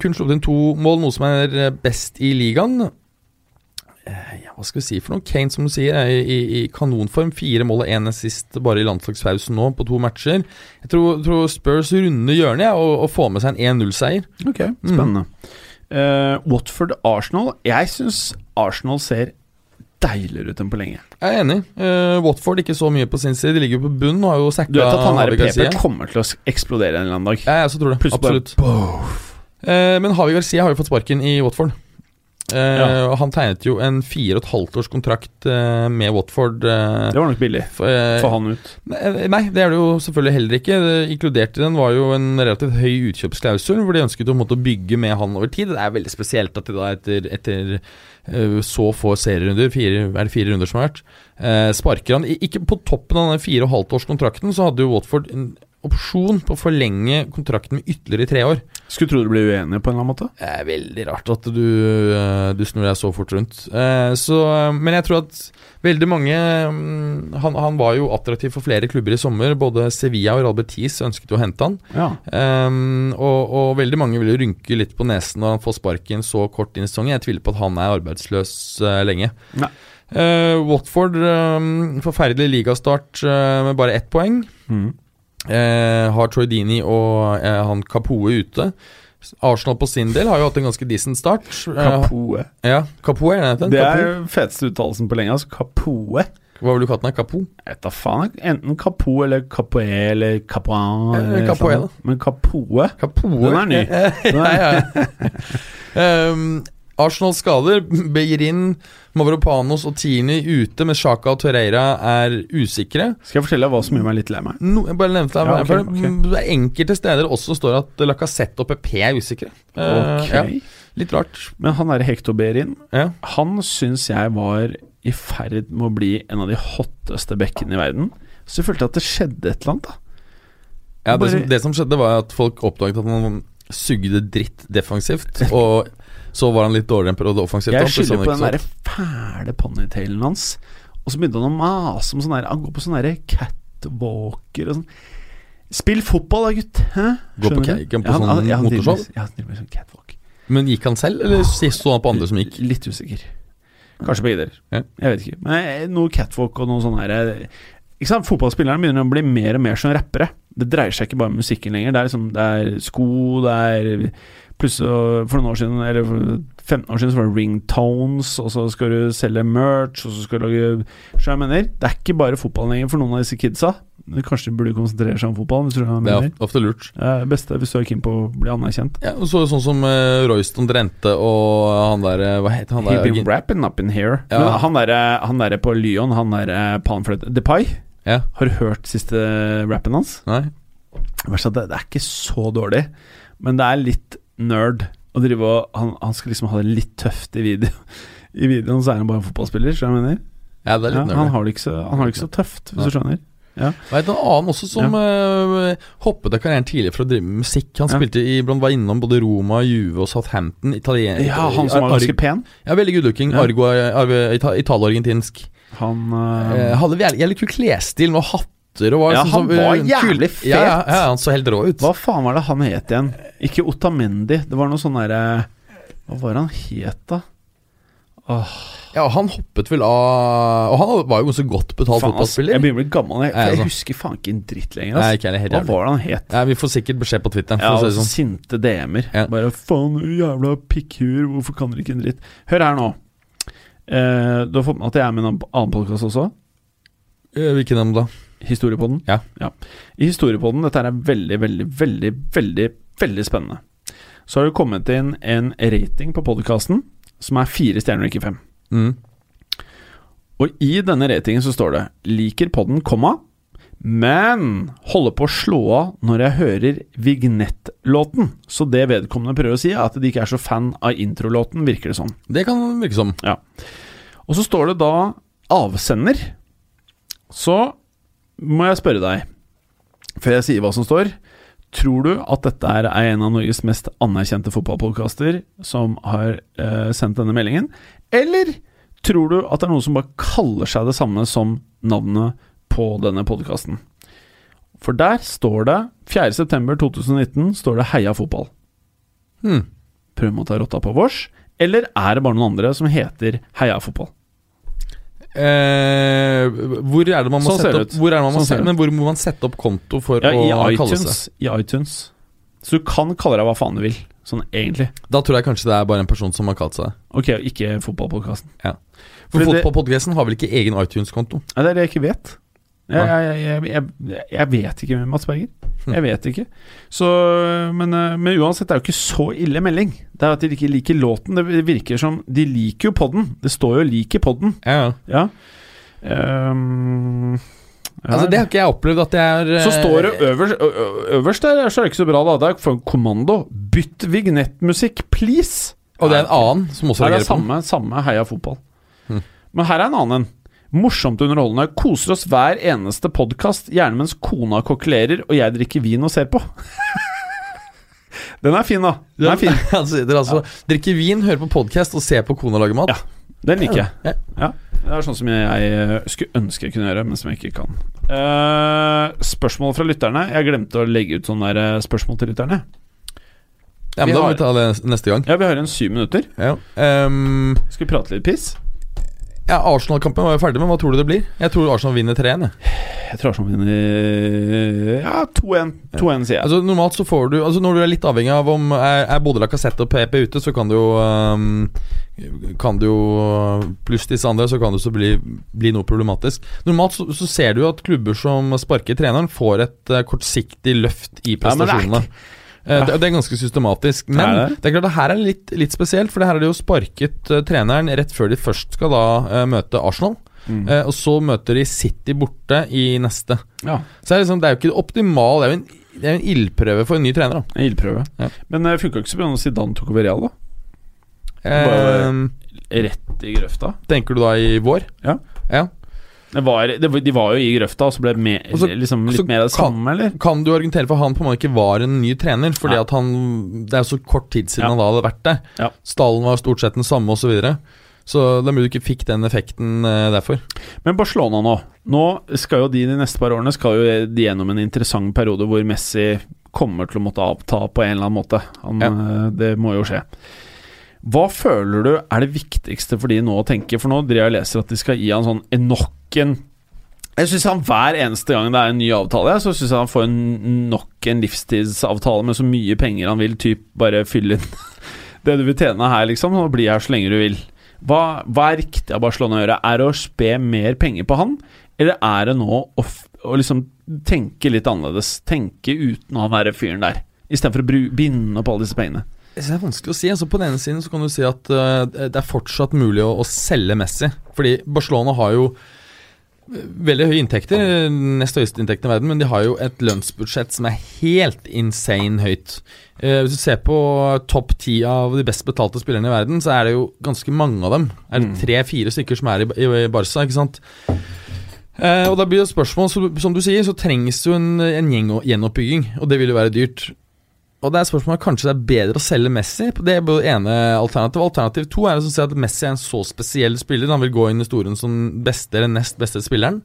kun sluppet inn to mål, noe som er eh, best i ligaen. Eh, ja, hva skal vi si for noe? Kane, som du sier, er i, i, i kanonform. Fire mål og én sist bare i landslagspausen nå, på to matcher. Jeg tror, tror Spurs runder hjørnet ja, og, og får med seg en 1-0-seier. Ok, spennende. Eh, Watford-Arsenal. Jeg syns Arsenal ser deiligere ut enn på lenge. Jeg er enig. Eh, Watford ikke så mye på sin side. De ligger jo på bunn og har jo sacka Du vet at han der Javi Garcia. PP kommer til å eksplodere en eller annen dag. Ja, jeg også tror det. Plutselig bare Absolutt. Eh, men Havi Garcia har jo fått sparken i Watford. Eh, Ja. og Han tegnet jo en fire og et halvt års kontrakt eh, med Watford. eh, Det var nok billig. f- eh, Få han ut. Nei, nei, det er det jo selvfølgelig heller ikke. Det- Inkludert i den var jo en relativt høy utkjøpsklausul, hvor de ønsket å på en måte, bygge med han over tid. Det er veldig spesielt at de da etter, etter eh, så få serierunder, fire, er det fire runder som har vært, eh, sparker han. I- Ikke på toppen av den fire og et halvt års kontrakten, så hadde jo Watford en opsjon på å forlenge kontrakten med ytterligere tre år. Skulle tro du ble uenig på en eller annen måte. Det er Eh, veldig rart at du, eh, du snur deg så fort rundt. Eh, Så, eh, men jeg tror at veldig mange mm, han, han var jo attraktiv for flere klubber i sommer. Både Sevilla og Real Betis ønsket jo å hente han. Ja. Ehm, og, og veldig mange vil jo rynke litt på nesen når han får sparken så kort inn i sesongen. Jeg tviler på at han er arbeidsløs eh, lenge. Nei. Eh, Watford, eh, forferdelig ligastart eh, med bare ett poeng. Mm. Eh, har Troy Dini og eh, han Kapoe ute. Arsenal på sin del har jo hatt en ganske decent start. Eh, Kapoe. ja, Kapoe, er det den? Det Kapoe? er feteste uttalelsen på lenge. Altså Kapoe. Hva vil du kalle den? Kapo? Jeg vet da faen. Enten Kapo eller Kapoe eller Kapoan. Eh, eller Kapoe, sånn. Men Kapoe Kapoe. Den er ny. Den ja, er, ja. Ehm, Arsenal skader. Beirin, Mavropanos og Tierney ute, men Sjaka og Torreira er usikre. skal jeg fortelle deg hva som gjør meg litt lei meg? No, jeg bare nevnte det, Ja, her, for ok, det er enkelte steder også står at Lacassette og PP er usikre. Eh, Ok. ja, litt rart. Men han der Hector Behrin, Ja. han syns jeg var i ferd med å bli en av de hotteste bekkene i verden. Så jeg følte at det skjedde et eller annet, da. Ja, det, Bare- som, det som skjedde, var at folk oppdaget at han sugde dritt defensivt. Og så var han litt dårligere en periode offensivt. da, Jeg plutselig skylder på den han derre ikke fæle ponytailen hans. Og så begynte han å mase om sånn der Han går på sånn derre catwalker og sånn. Spill fotball da, gutt! Hæ? Går på Skjønner du? kaiken på Ja, han- sånn ja, han driver med- motorshow? Ja, han driver med sånn catwalk. så- Men gikk han selv, eller så han på andre som gikk? Litt usikker. Kanskje begge deler. Ja. Jeg vet ikke. Men eh, noe catwalk og noe sånn her eh, Ikke sant, Fotballspillerne begynner å bli mer og mer som rappere. Det dreier seg ikke bare om musikken lenger. Det er liksom Det er sko, det er Plutselig, og for noen år siden, eller for 15 år siden, så var det ringtones, og så skal du selge merch, og så skal du lage Så jeg mener, det er ikke bare fotballen lenger for noen av disse kidsa. Men Kanskje de burde konsentrere seg om fotballen, hvis du skjønner hva Det jeg er mener. of- ofte lurt. Det er det beste hvis du er keen på å bli anerkjent. Ja, og så sånn som eh, Royston Drente og han der eh, Hva heter han He der? been rapping up in here. Ja. Men han derre han der på Lyon, han derre panfløyte Depay, Ja. har du hørt siste rappen hans? Nei? Verst at Det det er ikke så dårlig, men det er litt nerd å drive og Han, han skal liksom ha det litt tøft i video. I videoen så er han bare en fotballspiller, skjønner du hva jeg mener? Ja, det er Ja, litt han, nervøst. har det ikke så, han har det ikke så tøft, hvis Nei. du skjønner. Jeg vet en annen også som eh, hoppet av karrieren tidligere for å drive med musikk. Han Ja. spilte i, blant var innom både Roma, Juve og Southampton. Italien, Ja, han som var Ar- ganske pen. Ja, veldig good looking. Ja. Argo, Argo, Ita- Italo-argentinsk. Han eh, Eh, hadde jævlig, jævlig kul klesstil med hatter og var Ja, liksom han var eh, kul- jævlig fet. Ja, ja, ja, han så helt rå ut. Hva faen var det han het igjen? Ikke Otamendi, det var noe sånn derre Hva var det han het, da? Ja, han hoppet vel av Og han var jo ganske godt betalt Faen, ass, fotballspiller. Jeg begynner å bli gammel. Nei, Jeg, for altså. jeg husker faen ikke en dritt lenger. Nei, Ass. ikke jeg helt Hva jævlig. var det han het? Nei, vi får sikkert beskjed på Twitter. Ja, For å si altså, det sånn. Sinte DM-er. Ja. Bare 'faen, du jævla pikkhuer, hvorfor kan dere ikke en dritt?' Hør her nå. Eh, du har fått med at jeg er med i en annen podkast også. Eh, Hvilken av dem da? Historiepodden. Ja. I Historiepodden, dette her er veldig, veldig, veldig, veldig veldig spennende. Så har det kommet inn en rating på podkasten som er fire stjerner og ikke fem. Mm. Og i denne ratingen så står det 'Liker podden, komma, men holder på å slå av når jeg hører vignettlåten'. Så det vedkommende prøver å si, er at de ikke er så fan av introlåten, virker det som. Det kan virke som. Og så står det da 'avsender'. Så må jeg spørre deg, før jeg sier hva som står Tror du at dette er en av Norges mest anerkjente fotballpodkaster som har eh, sendt denne meldingen? Eller tror du at det er noen som bare kaller seg det samme som navnet på denne podkasten? For der står det 4.9.2019 står det 'Heia fotball'. Hmm. Prøv å ta rotta på vårs. Eller er det bare noen andre som heter 'Heia fotball'? Eh, hvor er det man må Sånn ser sette det opp ut. hvor er det man må Sånn ser sette, det Men hvor må man sette opp konto for Ja, å i kalle seg? iTunes, I iTunes. Så du kan kalle deg hva faen du vil, sånn egentlig. Da tror jeg kanskje det er bare en person som har kalt seg det. Ok, og ikke fotballpodkasten. For Fordi det- Fotballpodcasten har vel ikke egen iTunes-konto? Nei, det er det jeg ikke vet. Jeg, Nei. jeg, jeg, jeg, jeg vet ikke med Mats Berger. Jeg vet ikke. Så, men, eh, men uansett, det er jo ikke så ille melding. Det er at de ikke liker låten. Det virker som De liker jo podden. Det står jo 'liker podden'. Ja, ja. Ja. Ehm, ja. Altså, det har ikke jeg opplevd at jeg er eh, Så står det øverst, ø- ø- øverst der, så er det ikke så bra, da. Det er for en kommando. Bytt vignettmusikk, please! Og det er en annen som også Her er reagerer på Hm. den. samme, samme heia fotball. Men her er en annen en. Morsomt underholdende. Koser oss hver eneste podkast, gjerne mens kona kokkelerer og jeg drikker vin og ser på. Den er fin, da. Den er fin. Han sitter altså drikker vin, hører på podkast og ser på kona lage mat. Ja, Den liker jeg. Ja. Ja, Det er sånn som jeg, jeg skulle ønske jeg kunne gjøre, men som jeg ikke kan. Eh, spørsmål fra lytterne. Jeg glemte å legge ut sånne der eh, spørsmål til lytterne. Ja, men Vi Da må har- vi ta det neste gang. Ja, Vi har igjen syv minutter. Ja. Ehm, Skal vi prate litt piss? ja, Arsenal-kampen var jo ferdig, men hva tror du det blir? Jeg tror Arsenal vinner 3-1. jeg. Jeg tror Arsenal vinner Ja, 2-1. 2-1, sier jeg. Altså, normalt så får du Altså Når du er litt avhengig av om er, er både Lacassette og PP ute, så kan du jo ehm, Kan du jo Pluss disse andre, så kan det også bli, bli noe problematisk. Normalt så, så ser du jo at klubber som sparker treneren, får et eh, kortsiktig løft i Ja, men det er prestasjonene. Eh, Det, det er ganske systematisk. Men Er det? det? er klart det her er litt, litt spesielt, for det her er det jo sparket eh, treneren rett før de først skal da eh, møte Arsenal. Mm. Eh, og så møter de City borte i neste. Ja, Så det er, liksom, det er jo ikke optimal Det er jo en, det er jo en ildprøve for en ny trener. Da. en ildprøve. Ja. Men det funka ikke så bra når Zidane tok over Real, da. Eh, Rett i grøfta. tenker du Ehm, da i vår? Ja. ja. Det var, det, var- de var jo i grøfta, og så ble det me- Og så- liksom litt så mer av det kan- samme, eller? Kan du argumentere for han på en måte ikke var en ny trener? Fordi Nei. at han Det er jo så kort tid siden Ja. han da hadde vært der. Ja. Stallen var stort sett den samme, osv. Så, videre. så det er mulig du ikke fikk den effekten eh, derfor. Men Barcelona nå Nå skal jo de de neste par årene Skal jo de gjennom en interessant periode hvor Messi kommer til å måtte avta på en eller annen måte. Han, eh, Det må jo skje. Hva føler du er det viktigste for de nå å tenke? For nå driver jeg og leser at de skal gi han sånn en- nok en Jeg syns han hver eneste gang det er en ny avtale, jeg, så syns jeg han får en, nok en livstidsavtale med så mye penger han vil, typ bare fylle inn det du vil tjene her, liksom, og bli her så lenge du vil. Hva, hva er riktig av Barcelona å gjøre? Er det å spe mer penger på han, eller er det nå å, f å liksom tenke litt annerledes? Tenke uten han derre fyren der, istedenfor å bru binde opp alle disse pengene. Jeg synes Det er vanskelig å si. altså På den ene siden så kan du si at eh, det er fortsatt mulig å, å selge Messi. Fordi Barcelona har jo eh, veldig høye inntekter, eh, nest høyeste inntekten i verden, men de har jo et lønnsbudsjett som er helt insane høyt. Eh, hvis du ser på topp ti av de best betalte spillerne i verden, så er det jo ganske mange av dem. Er det tre-fire stykker som er i, i, i Barca, ikke sant? Eh, og da blir det spørsmål, så, som du sier, så trengs jo en, en gjeng, gjenoppbygging, og det vil jo være dyrt. Og det er spørsmålet kanskje det er bedre å selge Messi. Det er både ene alternativet. Alternativ to er liksom å si at Messi er en så spesiell spiller. Han vil gå inn i historien som den beste eller nest beste spilleren.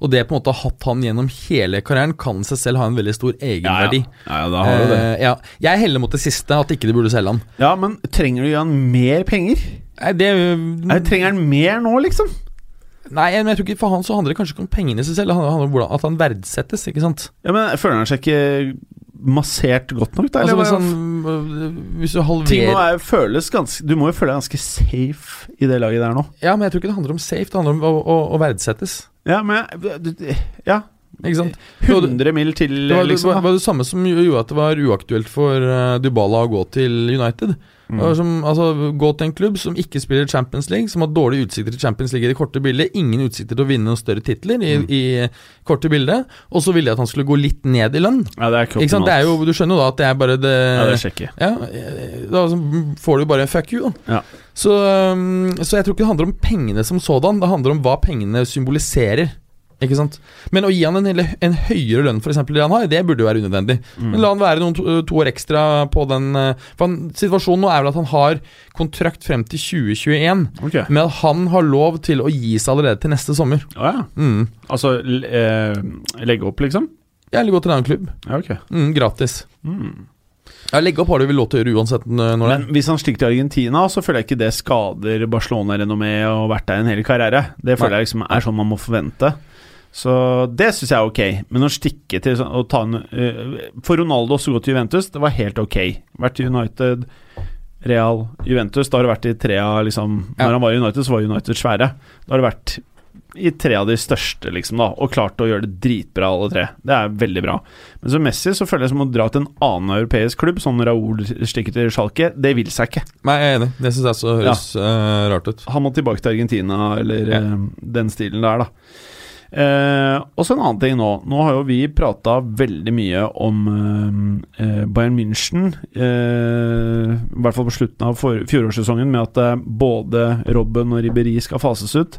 Og det på en måte å ha hatt han gjennom hele karrieren kan i seg selv ha en veldig stor egenverdi. da Eh, ja. Jeg heller mot det siste, at ikke de burde selge han. Ja, men trenger du å gi han mer penger? Nei, det, Mm. Nei, trenger han mer nå, liksom? nei, men jeg tror ikke for han så handler det kanskje ikke om pengene i seg selv, det handler handler om hvordan, at han verdsettes, ikke sant. Ja, men Føler han seg ikke massert godt nok, Altså, da? Eller hvis, hva- han, hvis du Ting må halverer være, føles ganske Du må jo føle deg ganske safe i det laget der nå. Ja, men jeg tror ikke det handler om safe, det handler om å, å, å verdsettes. Ja, men jeg- du- du- Ja. Ikke sant? 100 mil til, Det var, liksom. det da. var det samme som gjorde at det var uaktuelt for eh, Dybala å gå til United. Det Mm. var Som, altså, gå til en klubb som ikke spiller Champions League, som har dårlige utsikter til Champions League i det korte bildet, ingen utsikter til å vinne noen større titler i, Mm. i korte bildet, og så ville jeg at han skulle gå litt ned i lønn. Ja, det er Ikke sant? Det er jo, du skjønner jo da at det er bare det, ja, det er kjekke. ja, eh, da så får du bare en fuck you, da. Ja. Så, um, så jeg tror ikke det handler om pengene som sådan, det handler om hva pengene symboliserer. Ikke sant? Men å gi han en, hele- en høyere lønn for eksempel, det han har, det burde jo være unødvendig. Men la han være noen to, eh, to år ekstra på den eh, For han, Situasjonen nå er vel at han har kontrakt frem til 2021, Ok. men at han har lov til å gi seg allerede til neste sommer. Å ja. Mm. Altså l- eh, legge opp, liksom? Ja, Eller gå til en annen klubb. Ja, ok. Mm, gratis. Ja, Legge opp har du vel lov til å gjøre uansett eh, når det er. Men hvis han stikker til Argentina, så føler jeg ikke det skader Barcelona-renommé og vært der en hel karriere. Det føler Nei. jeg liksom er sånn man må forvente. Så det syns jeg er ok. Men å stikke til sånn- å ta en eh, For Ronaldo også gå til Juventus, det var helt ok. Vært i United, Real, Juventus. Da har det vært i tre av liksom Ja. Når han var i United, så var United svære. Da har det vært i tre av de største, liksom, da, og klart å gjøre det dritbra, alle tre. Det er veldig bra. Men som Messi så føler jeg som å dra til en annen europeisk klubb, som Raúl stikker til Schalke. Det vil seg ikke. Nei, jeg er enig. Det syns jeg så høres eh, rart ut. Han må tilbake til Argentina, eller Ja. eh, den stilen der, da. Eh, og så en annen ting nå. Nå har jo vi prata veldig mye om eh, eh, Bayern München. Eh, I hvert fall på slutten av for, fjorårssesongen, med at eh, både Robben og Riberi skal fases ut.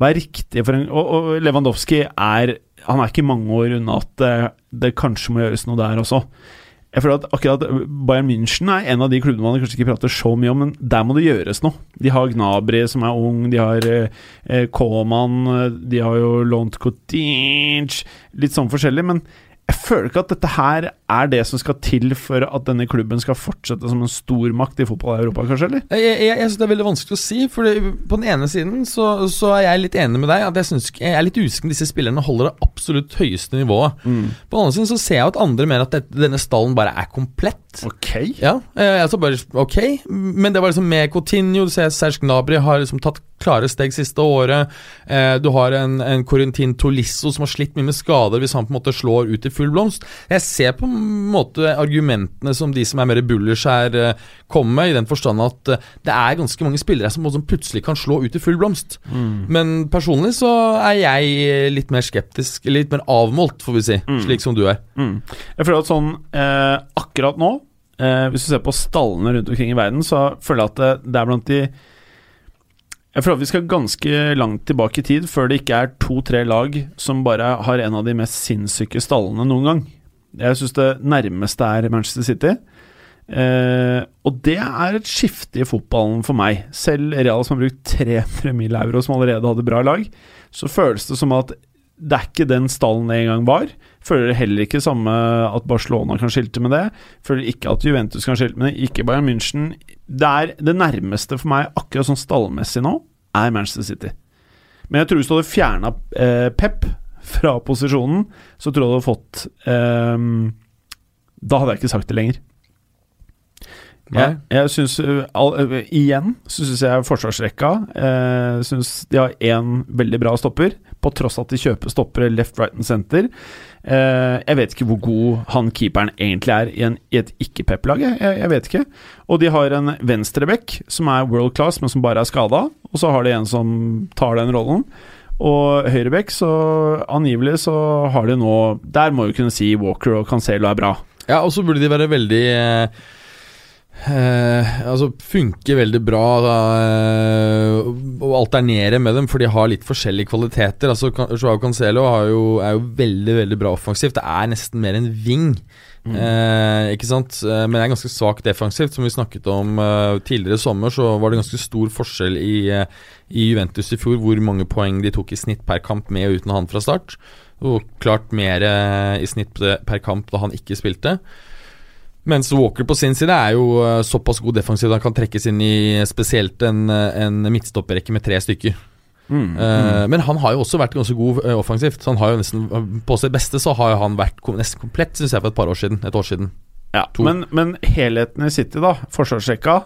Hva er riktig for en Og, og Lewandowski er Han er ikke mange år unna at eh, det kanskje må gjøres noe der også. Jeg føler at akkurat Bayern München er en av de klubbene man kanskje ikke prater så mye om, men der må det gjøres noe. De har Gnabry som er ung, de har eh, Koman, de har jo lånt Kotinch Litt sånn forskjellig, men jeg føler ikke at dette her er det som skal til for at denne klubben skal fortsette som en stormakt i fotball i Europa, kanskje, eller? Jeg, jeg, jeg synes det er veldig vanskelig å si. For det, på den ene siden så, så er jeg litt enig med deg. At jeg, synes, ikke- jeg er litt usikker om disse spillerne holder det absolutt høyeste nivået. På den andre siden så ser jeg at andre mener at dette, denne stallen bare er komplett. Ok. Ja, eh, altså bare ok, men det var liksom med Coutinho, du ser Serge Gnabry har liksom tatt klare steg siste året. Eh, du har en, en Corentin Tolisso som har slitt mye med skader hvis han på en måte slår ut i full blomst. Jeg ser på en måte argumentene som de som er mer bullish her, eh, kommer med, i den forstand at eh, det er ganske mange spillere som, som plutselig kan slå ut i full blomst. Men personlig så er jeg eh, litt mer skeptisk, litt mer avmålt, får vi si, slik som du er. Jeg føler at sånn eh, akkurat nå, eh, hvis du ser på stallene rundt omkring i verden, så føler jeg at det, det er blant de Jeg føler at vi skal ganske langt tilbake i tid før det ikke er to-tre lag som bare har en av de mest sinnssyke stallene noen gang. Jeg syns det nærmeste er Manchester City. Eh, og det er et skifte i fotballen for meg. Selv Real som har brukt 300 mill. euro, som allerede hadde bra lag, så føles det som at det er ikke den stallen det en gang var. Føler heller ikke samme at Barcelona kan skilte med det. Føler ikke at Juventus kan skilte med det. Ikke Bayern München. Det, er det nærmeste for meg, akkurat sånn stallmessig nå, er Manchester City. Men jeg tror hvis du hadde fjerna eh, Pep fra posisjonen, så tror jeg du hadde fått eh, Da hadde jeg ikke sagt det lenger. Jeg, jeg synes, uh, all, uh, Igjen så syns jeg forsvarsrekka uh, synes de har én veldig bra stopper, på tross at de kjøper stoppere left, right and center. Eh, jeg vet ikke hvor god han keeperen egentlig er i, en, i et ikke-Pep-lag. Jeg, jeg vet ikke. Og de har en venstreback som er world class, men som bare er skada. Og så har de en som tar den rollen. Og høyreback, så angivelig så har de nå Der må vi kunne si Walker og Cancelo er bra. Ja, og så burde de være veldig eh, eh, Altså funke veldig bra da, eh, og alternere med dem, for de har litt forskjellige kvaliteter. Altså Kan- Joao Cancelo har jo, er jo veldig veldig bra offensivt. Det er nesten mer en ving. Eh, ikke sant? Eh, Men det er ganske svakt defensivt. Som vi snakket om eh, tidligere i sommer, så var det ganske stor forskjell i, eh, i Juventus i fjor hvor mange poeng de tok i snitt per kamp med og uten han fra start. Og klart mer eh, i snitt per kamp da han ikke spilte. Mens Walker på sin side er jo eh, såpass god defensiv at han kan trekkes inn i spesielt en, eh, en midtstopperrekke med tre stykker. Mm, Eh, Men han har jo også vært ganske god eh, offensivt. Så han har jo nesten eh, På sitt beste så har jo han vært kom- nesten komplett, syns jeg, for et par år siden. Et år siden. Ja, To. men, men helheten i City, da, forsvarsrekka,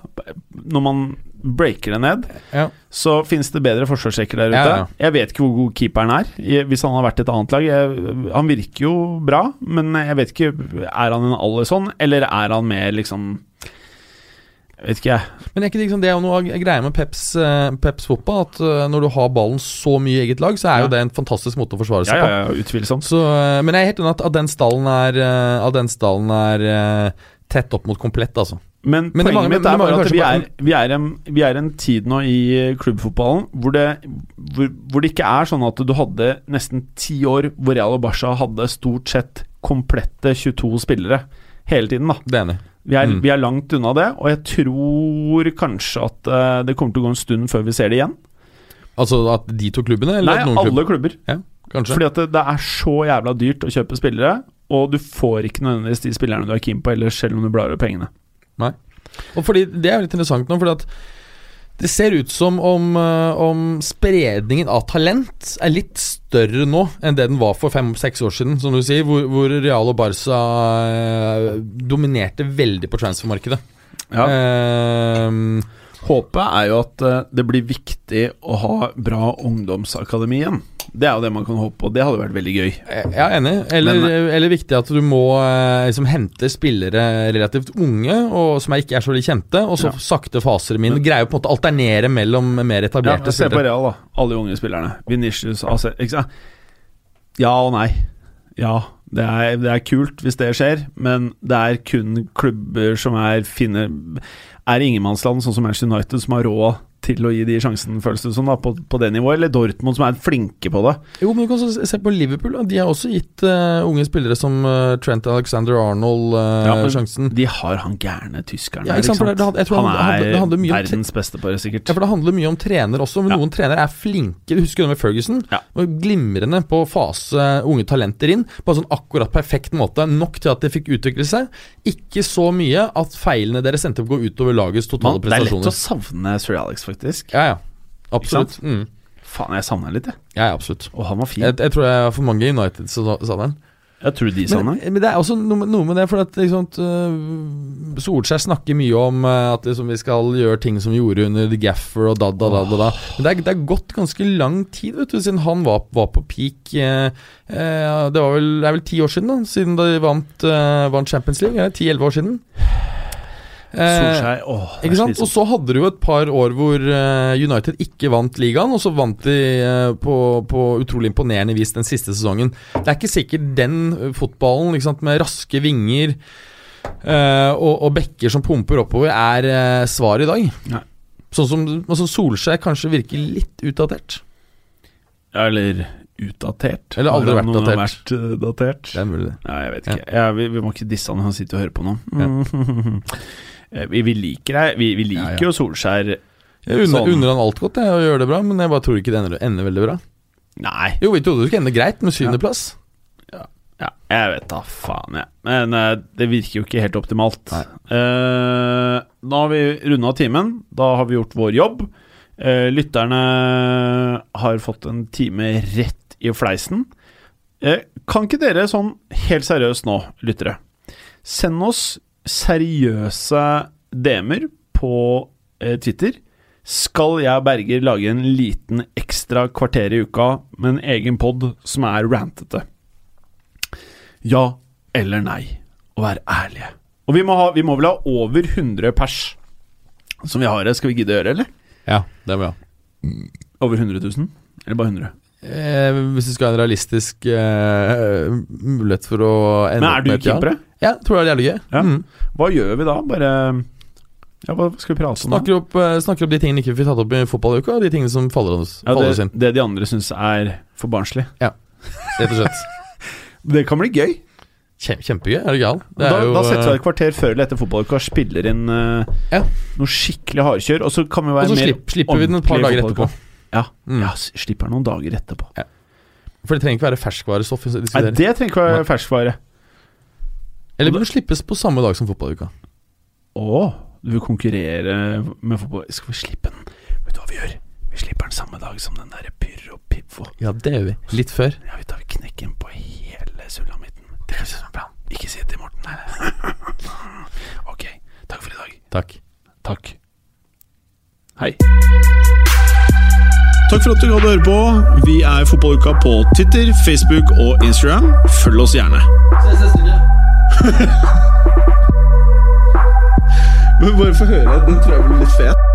når man breaker det ned, Ja. så finnes det bedre forsvarsrekker der ute. Ja, ja. Jeg vet ikke hvor god keeperen er, i- hvis han har vært i et annet lag. Jeg, han virker jo bra, men jeg vet ikke Er han en Alison, eller er han mer liksom Jeg vet ikke, jeg. Men er ikke det, liksom, det er jo noe av greia med Peps, eh, Peps fotball, at eh, når du har ballen så mye i eget lag, så er Ja. jo det en fantastisk måte å forsvare Ja, seg ja, Altså, på. ja, utvilsomt. Så, eh, men jeg er helt enig at, at den stallen er, eh, at den stallen er eh, tett opp mot komplett, altså. Men, Men det poenget mangler- men mitt det er bare mangler at vi er, kanskje vi, er en, vi er en tid nå i eh, klubbfotballen hvor det, hvor, hvor det ikke er sånn at du hadde nesten ti år hvor Real og Barca hadde stort sett komplette 22 spillere hele tiden, da. Det er enig. Vi er, Mm. vi er langt unna det, og jeg tror kanskje at eh, det kommer til å gå en stund før vi ser det igjen. Altså at de to klubbene, eller at Nei, noen alle klubber? klubber. Ja, kanskje. Fordi at det, det er så jævla dyrt å kjøpe spillere, og du får ikke nødvendigvis de spillerne du er keen på ellers, selv om du blar opp pengene. Og fordi Det er jo litt interessant nå, fordi at det ser ut som om, eh, om spredningen av talent er litt større nå enn det den var for fem-seks år siden, som du sier, hvor, hvor Real og Barca eh, dominerte veldig på transfermarkedet. Ja. Eh, Håpet er jo at eh, det blir viktig å ha bra ungdomsakademi igjen. Det er jo det man kan håpe på. Det hadde vært veldig gøy. eh, Ja, enig. Eller, eller viktig at du må eh, liksom, hente spillere relativt unge, og som er- ikke er så veldig kjente, og så Ja. sakte faser dem inn. Greier å på en måte alternere mellom mer Ja, etablerte se på spillere. Real, da. Alle de unge spillerne. Vinicius, AC ikke sant? Ja og nei. Ja, det er, det er kult hvis det skjer, men det er kun klubber som er fine Er i ingenmannsland, sånn som Manchester United, som har råd til å gi de sjansen, føles det som, da, på, på det nivået? Eller Dortmund, som er flinke på det? Jo, men du kan også se på Liverpool. Da. De har også gitt eh, unge spillere som eh, Trent Alexander Arnold Ja, Eh, men sjansen. De har han gærne tyskeren Ja, der, ikke sant, for det- det hadde- jeg tror han det hadde- det hadde er mye om te- verdens beste på det, sikkert. Ja, for Det handler mye om trener også, men Ja. noen trenere er flinke. Du husker det med Ferguson? Ja. Var Glimrende på å fase unge talenter inn på en sånn akkurat perfekt måte. Nok til at de fikk utvikle seg. Ikke så mye at feilene deres endte opp å gå utover lagets Man, totale det er lett å prestasjoner. savne Sir Alex, faktisk. Ja, ja. Absolutt. Mm. Faen, jeg savner han litt, jeg. Ja, ja, absolutt. Og han var fin. Jeg, jeg tror jeg har for mange United, sa sa den. Jeg tror de Men, men det er også noe, med- noe med det, for at liksom, at, øh, Solskjær snakker mye om øh, at liksom, vi skal gjøre ting som vi gjorde under The Gaffer og da, da, da, da, da. Men det er, det er gått ganske lang tid vet du, siden han var, var på peak. eh, eh, det, var vel, det er vel ti år siden, da, siden de vant, eh, vant Champions League. Ti-elleve år siden. Eh, Solskjær, åh, det er ikke sant? Og slitsomt. så hadde du jo et par år hvor eh, United ikke vant ligaen, og så vant de eh, på, på utrolig imponerende vis den siste sesongen. Det er ikke sikkert den eh, fotballen ikke sant, med raske vinger eh, og, og bekker som pumper oppover, er eh, svaret i dag. Nei. Sånn som altså Solskjær kanskje virker litt utdatert. Ja, eller utdatert. Eller aldri Har vært han noen gang datert. vært, eh, datert? Det er mulig, det. Nei, jeg vet ikke. Ja, vi, vi må ikke disse han, han sitter og hører på nå. Eh, vi, vi liker deg. Vi, vi liker Ja, ja. jo Solskjær. Jeg unner, Sånn. unner han alt godt jeg, og gjør det bra, men jeg bare tror ikke det ender, ender veldig bra. Nei, Jo, vi trodde det skulle ende greit med syvendeplass. ja, jeg vet da faen, jeg. Men eh, det virker jo ikke helt optimalt. Nei. Eh, da har vi runda timen. Da har vi gjort vår jobb. Eh, lytterne har fått en time rett i fleisen. Eh, kan ikke dere sånn helt seriøst nå, lyttere, send oss seriøse DM-er på eh, Twitter? Skal jeg og Berger lage en liten ekstra kvarter i uka med en egen pod som er rantete? Ja eller nei, og være ærlige. Og vi må, ha, vi må vel ha over 100 pers som vi har her. Skal vi gidde å gjøre, eller? Ja, det må vi ha. Over 100 000? Eller bare 100? Eh, hvis du skal ha en realistisk eh, mulighet for å ende Men er opp med du et ja. keepere? Ja, tror jeg det er jævlig gøy. Ja. Mm. Hva gjør vi da? Bare Ja, hva skal vi prate om? da? Snakker, opp, eh, snakker opp de tingene ikke vi fikk tatt opp i fotballuka, og de tingene som faller oss, Ja, faller oss det, inn. det de andre syns er for barnslig. Rett og slett. Det kan bli gøy. Kjem, kjempegøy, er du gal? Det Da, er da setter vi av eh, et kvarter før eller etter fotballuka og spiller inn eh, Ja. noe skikkelig hardkjør. Og så kan vi Og være så mer slipp, slipper vi den et par ordentlig dager etterpå. fotballuka. Ja, Mm. ja, s- slipper den noen dager etterpå. For det trenger ikke være ferskvarestoff. vi Nei, diskuterer. det trenger ikke være ferskvare. Eller burde slippes på samme dag som fotballuka. Å, du vil konkurrere med fotball Skal vi slippe den? Vet du hva vi gjør? Vi slipper den samme dag som den derre Pyrr og Pivvo. Ja, det gjør vi. Litt før. Ja, vi tar vi knekken på hele sulamitten. Det høres ut som en plan. Ikke si det til Morten. Nei, nei. ok, takk for i dag. Takk. Takk. Hei. Takk for at du hadde høre på. Vi er Fotballuka på Twitter, Facebook og Instagram. Følg oss gjerne. Men bare få høre. Den tror jeg blir litt fet.